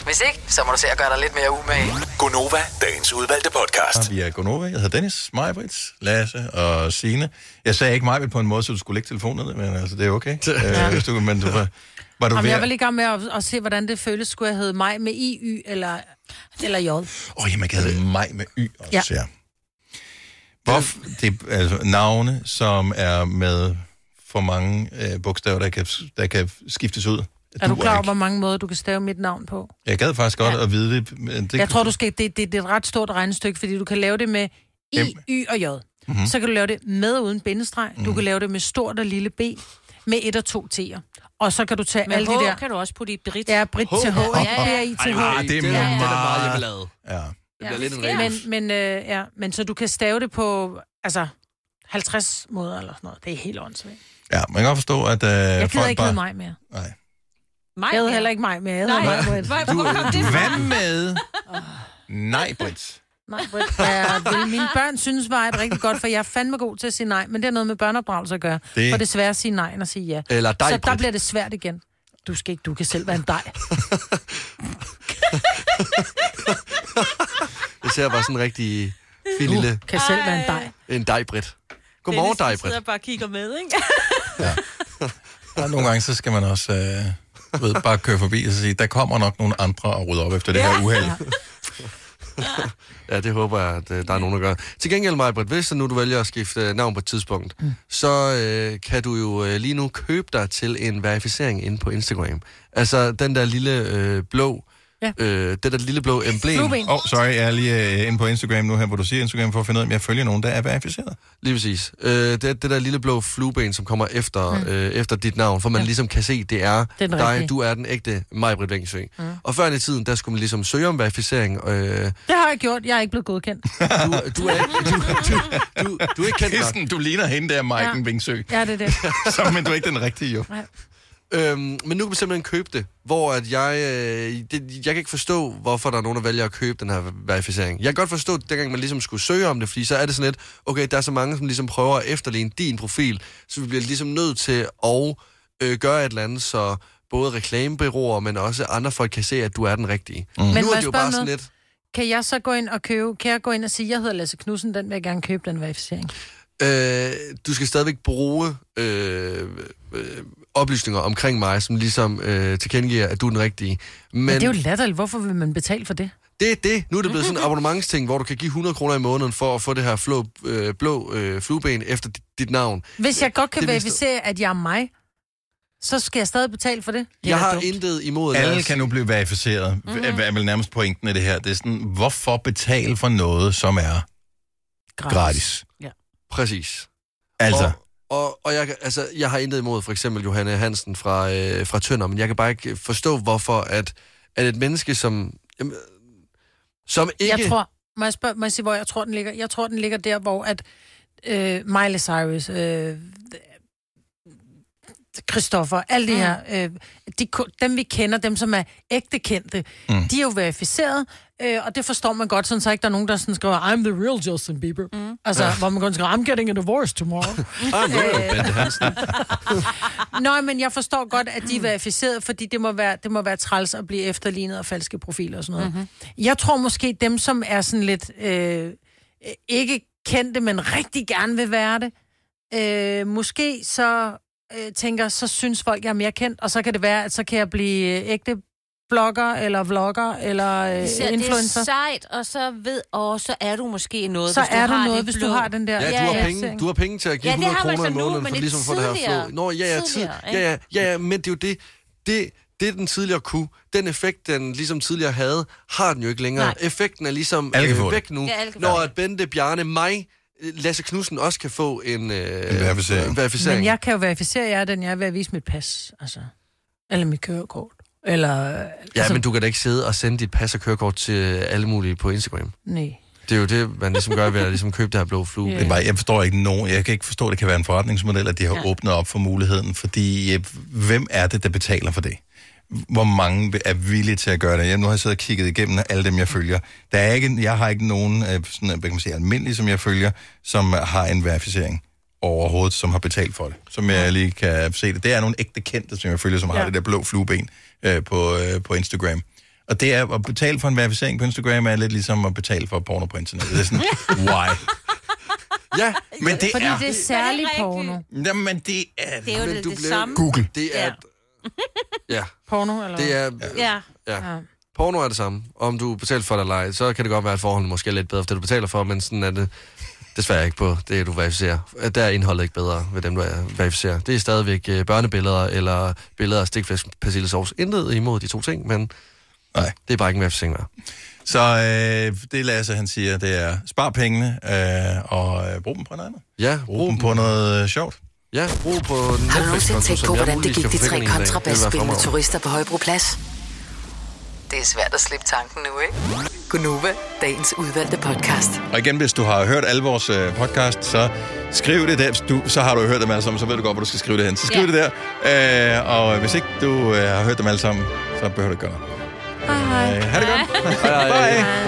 Speaker 5: Hvis ikke, så må du se at gøre dig lidt mere umage.
Speaker 8: Gonova, dagens udvalgte podcast.
Speaker 1: Vi er Gonova. Jeg hedder Dennis, Majbrits, Lasse og Sine. Jeg sagde ikke Majbrit på en måde, så du skulle lægge telefonen ned, men altså, det er okay. Ja. Øh, hvis du, men du var, var du
Speaker 2: Jamen,
Speaker 1: ved
Speaker 2: jeg
Speaker 1: at...
Speaker 2: var lige i gang med at, at se, hvordan det føles. Skulle jeg hedde mig med I, Y eller, eller J?
Speaker 1: Åh, jamen, jeg kan hedde mig med Y også, ja.
Speaker 2: Ja.
Speaker 1: ja. Hvorf, det er altså navne, som er med for mange øh, bogstaver, der kan, der kan skiftes ud.
Speaker 2: Er du
Speaker 1: Duer
Speaker 2: klar over,
Speaker 1: ikke.
Speaker 2: hvor mange måder du kan stave mit navn på?
Speaker 1: Jeg gad faktisk godt ja. at vide det. men det
Speaker 2: Jeg tror, du skal, det, det, det er et ret stort regnestykke, fordi du kan lave det med I,
Speaker 1: M.
Speaker 2: Y og J.
Speaker 1: Mhm.
Speaker 2: Mm-hmm. Så kan du lave det med og uden bindestreg. Mm-hmm. Du kan lave det med stort og lille B, med et og to T'er. Og så kan du tage
Speaker 4: Med
Speaker 2: alle
Speaker 4: H
Speaker 2: de der...
Speaker 4: kan du også putte i Brit.
Speaker 2: Ja, Brit til H, ikke?
Speaker 4: Ja, ja.
Speaker 2: B-R-I til H.
Speaker 1: Ej, det er
Speaker 4: Ja, ja.
Speaker 1: meget...
Speaker 4: Den er
Speaker 6: meget hjemmelade.
Speaker 1: Ja.
Speaker 6: Det bliver lidt en
Speaker 2: men,
Speaker 6: rebus.
Speaker 2: men, øh, ja, men så du kan stave det på altså, 50 måder eller sådan noget. Det er helt åndssvagt.
Speaker 1: ja, man kan godt forstå, at øh,
Speaker 2: Jeg gider
Speaker 1: folk
Speaker 2: ikke
Speaker 1: bare...
Speaker 2: hedde mig mere.
Speaker 1: Nej.
Speaker 2: Mig jeg hedder heller ikke mig mere. Jeg hedder
Speaker 1: Nej,
Speaker 2: Maj-Brit.
Speaker 1: du, hvad med... Nej, Britt.
Speaker 2: Nej, Britt. Ja, vil mine børn synes var et rigtig godt, for jeg er fandme god til at sige nej, men det har noget med børneopdragelse at gøre.
Speaker 3: Det-
Speaker 2: Det... For det er svært at sige nej, end at sige
Speaker 1: Øh,
Speaker 2: ja.
Speaker 3: Eller dig,
Speaker 2: Så der
Speaker 3: Britt.
Speaker 2: bliver det svært igen. Du skal ikke, du kan selv være en dej.
Speaker 3: Det ser bare sådan en rigtig fin lille...
Speaker 2: Uh, kan selv være en dej.
Speaker 3: En dejbrit. Godmorgen, dejbrit.
Speaker 4: bare og kigger med, ikke?
Speaker 1: Og nogle gange, så skal man også øh, ved, bare køre forbi og så sige, der kommer nok nogle andre og rydder op efter det her uheld.
Speaker 3: Ja, det håber jeg, at øh, der er nogen, der gør. Til gengæld, Majbrit, hvis så nu du vælger at skifte øh, navn på et tidspunkt, mm. så øh, kan du jo øh, lige nu købe dig til en verificering inde på Instagram. Altså den der lille øh, blå...
Speaker 2: Ja.
Speaker 3: Øh, det der lille blå emblem.
Speaker 1: Åh, oh, sorry, jeg er lige øh, inde på Instagram nu her, hvor du siger Instagram, for at finde ud af, om jeg følger nogen, der er verificeret.
Speaker 3: Lige præcis. Øh, det, er det der lille blå flueben, som kommer efter, mm. øh, efter dit navn, for man ja. ligesom kan se, det er
Speaker 6: den
Speaker 3: dig,
Speaker 6: rigtige.
Speaker 3: du er den ægte Majbrit Vengsø. Mm. Og før i tiden, der skulle man ligesom søge om verificering. Øh,
Speaker 2: Det har jeg gjort. Jeg er ikke blevet godkendt.
Speaker 3: du, du, er, ikke- du, du, du, du er ikke kendt
Speaker 1: Kirsten, du ligner hende der, Maiken
Speaker 2: Ja.
Speaker 1: Vingsø.
Speaker 2: Ja, det er det.
Speaker 1: Så, men du er ikke den rigtige, jo.
Speaker 2: Nej.
Speaker 3: Øhm, men nu kan man simpelthen købe det, hvor at jeg, øh, det, jeg kan ikke forstå, hvorfor der er nogen, der vælger at købe den her verificering. Jeg kan godt forstå, at dengang man ligesom skulle søge om det, fordi så er det sådan lidt, okay, der er så mange, som ligesom prøver at efterligne din profil, så vi bliver ligesom nødt til at øh, gøre et eller andet, så både reklamebyråer, men også andre folk kan se, at du er den rigtige. Mm.
Speaker 2: Men
Speaker 3: nu
Speaker 2: må
Speaker 3: er
Speaker 2: jeg
Speaker 3: det
Speaker 2: spørge
Speaker 3: jo bare sådan
Speaker 2: noget?
Speaker 3: lidt,
Speaker 2: Kan jeg så gå ind og købe, kan jeg gå ind og sige, jeg hedder Lasse Knudsen, den vil jeg gerne købe, den verificering.
Speaker 3: Øh, du skal stadigvæk bruge øh, øh, oplysninger omkring mig, som ligesom øh, tilkendegiver, at du er den rigtige. Men,
Speaker 2: Men det er jo latterligt. Hvorfor vil man betale for det?
Speaker 3: Det er det. Nu er det blevet sådan en abonnementsting, hvor du kan give 100 kroner i måneden for at få det her flå, øh, blå øh, flueben efter dit, dit navn.
Speaker 2: Hvis jeg godt kan
Speaker 3: Det vidste-
Speaker 2: verificere, at jeg er mig, så skal jeg stadig betale for det. det
Speaker 3: Jeg
Speaker 2: er da
Speaker 3: har
Speaker 2: dumt.
Speaker 3: intet imod
Speaker 1: Alle
Speaker 3: Lars.
Speaker 1: kan nu blive verificeret, mm-hmm. er er vel nærmest pointen af det her. Det er sådan, hvorfor betale for noget, som er gratis? gratis.
Speaker 2: Ja.
Speaker 3: Præcis.
Speaker 1: Altså, og...
Speaker 3: Og, og jeg, kan- altså, jeg har intet imod for eksempel Johanne Hansen fra, øh, fra Tønder, men jeg kan bare ikke forstå, hvorfor at, at et menneske, som, jamen, som ikke...
Speaker 2: Jeg tror, må jeg, spørge, må jeg sige, hvor jeg tror, den ligger? Jeg tror, den ligger der, hvor at øh, Miley Cyrus, øh, Christoffer, alle
Speaker 3: Mm.
Speaker 2: de her, øh, de, ku- dem vi kender, dem som er ægte kendte,
Speaker 19: Mm.
Speaker 2: mm. de er jo verificeret, øh, og det forstår man godt, sådan så ikke der er nogen, der sådan skriver, I'm the real Justin Bieber. Mm. Altså,
Speaker 19: Ja.
Speaker 2: hvor man kun skriver, I'm getting a divorce tomorrow. Øh, Nå, men jeg forstår godt, at de er verificeret, fordi det må være, det må være træls at blive efterlignet og falske profiler og sådan noget.
Speaker 4: Mhm.
Speaker 2: Mm-hmm. Jeg tror måske dem, som er sådan lidt øh, øh, ikke kendte, men rigtig gerne vil være det, øh, måske så øh, tænker, så synes folk, jeg er mere kendt, og så kan det være, at så kan jeg blive øh, ægte blogger, eller vlogger, eller øh,
Speaker 4: Især
Speaker 2: influencer.
Speaker 4: Det er sejt, og så ved, åh, så er du måske noget,
Speaker 2: Så
Speaker 4: hvis
Speaker 2: er
Speaker 4: du
Speaker 2: du
Speaker 4: har
Speaker 2: noget,
Speaker 4: det
Speaker 2: hvis du
Speaker 4: blå.
Speaker 2: har den der-
Speaker 3: Ja, du, har penge, du har penge til at give
Speaker 4: Ja, det
Speaker 3: 100
Speaker 4: har man
Speaker 3: kroner i
Speaker 4: så nu,
Speaker 3: måneden,
Speaker 4: men
Speaker 3: for
Speaker 4: det
Speaker 3: ligesom at få det her
Speaker 4: tidligere.
Speaker 3: flå. Nå, ja, ja, tid,
Speaker 4: Tidligere, ikke?
Speaker 3: ja, ja, ja, ja, men det er jo det, det, det den tidligere kunne, den effekt, den ligesom tidligere havde, har den jo ikke længere. Nej. Effekten er ligesom
Speaker 1: Alle kan få det.
Speaker 3: væk nu,
Speaker 1: Ja, alle kan få
Speaker 3: når at Bente, Bjarne, mig, øh, Lasse Knudsen også kan få en, øh, en
Speaker 1: verificering.
Speaker 3: verificering.
Speaker 2: Men jeg kan jo verificere jer, den jeg er ved at vise mit pas, altså. Eller mit kørekort. Eller... altså,
Speaker 3: Ja, men du kan da ikke sidde og sende dit pas og kørekort til alle mulige på Instagram.
Speaker 2: Nej.
Speaker 3: Det er jo det, man ligesom gør ved at ligesom købe det her blå flue.
Speaker 1: Det er bare, jeg forstår ikke nogen, jeg kan ikke forstå, at det kan være en forretningsmodel, at de har ja.
Speaker 3: Ja.
Speaker 1: åbnet op for muligheden, fordi øh, hvem er det, der betaler for det? Hvor mange er villige til at gøre det? Jeg, nu har jeg siddet og kigget igennem alle dem, jeg følger. Der er ikke, jeg har ikke nogen, øh, sådan, hvad kan man sige, almindelige, som jeg følger, som har en verificering. overhovedet, som har betalt for det. Som jeg lige kan se det. Det er nogle ægte kendte, som jeg følger, som ja. har det der blå flueben øh, på, øh, på Instagram. Og det er at betale for en verificering på Instagram, er lidt ligesom at betale for porno på internettet. Det er sådan, why? ja, men det
Speaker 2: Fordi
Speaker 1: er...
Speaker 2: det er særlig porno.
Speaker 1: Jamen, det er...
Speaker 2: Det er jo
Speaker 1: Men
Speaker 2: det,
Speaker 1: du
Speaker 2: det
Speaker 1: bliver-
Speaker 2: samme.
Speaker 1: Google.
Speaker 3: Det er... Ja.
Speaker 2: Porno, eller
Speaker 3: Det er...
Speaker 2: hvad? Ja.
Speaker 3: Ja. Porno er det samme. Om du betaler for det eller ej, så kan det godt være, at forholdene måske er lidt bedre for det, du betaler for, men sådan er det desværre ikke på det, du verificerer. At Der er indholdet ikke bedre ved dem, du er- verificerer. Det er stadigvæk øh, børnebilleder eller billeder af stikflæsk persillesauce. Intet imod de to ting, men
Speaker 1: Nej.
Speaker 3: det er bare ikke en verificering værd.
Speaker 1: Så øh, det Lasse, han siger, det er spar pengene øh, og øh, brug dem på noget andet.
Speaker 3: Ja,
Speaker 1: brug dem på noget øh, sjovt.
Speaker 3: Ja, brug på
Speaker 5: Har du nogensinde tænkt på, hvordan det gik de tre kontrabasspillende turister på Højbroplads? Det er svært at slippe tanken nu, ikke? Gunova, dagens udvalgte podcast.
Speaker 1: Og igen, hvis du har hørt alle vores øh, podcast, så skriv det der. Hvis Du, så har du hørt dem alle sammen, så ved du godt, hvor du skal skrive det hen. Så skriv
Speaker 5: Ja.
Speaker 1: ja. det der. Øh, og hvis ikke du øh, har hørt dem alle sammen, så behøver du ikke gøre noget.
Speaker 2: Hej, hej.
Speaker 1: Øh, ha' det godt. Hej. Hej.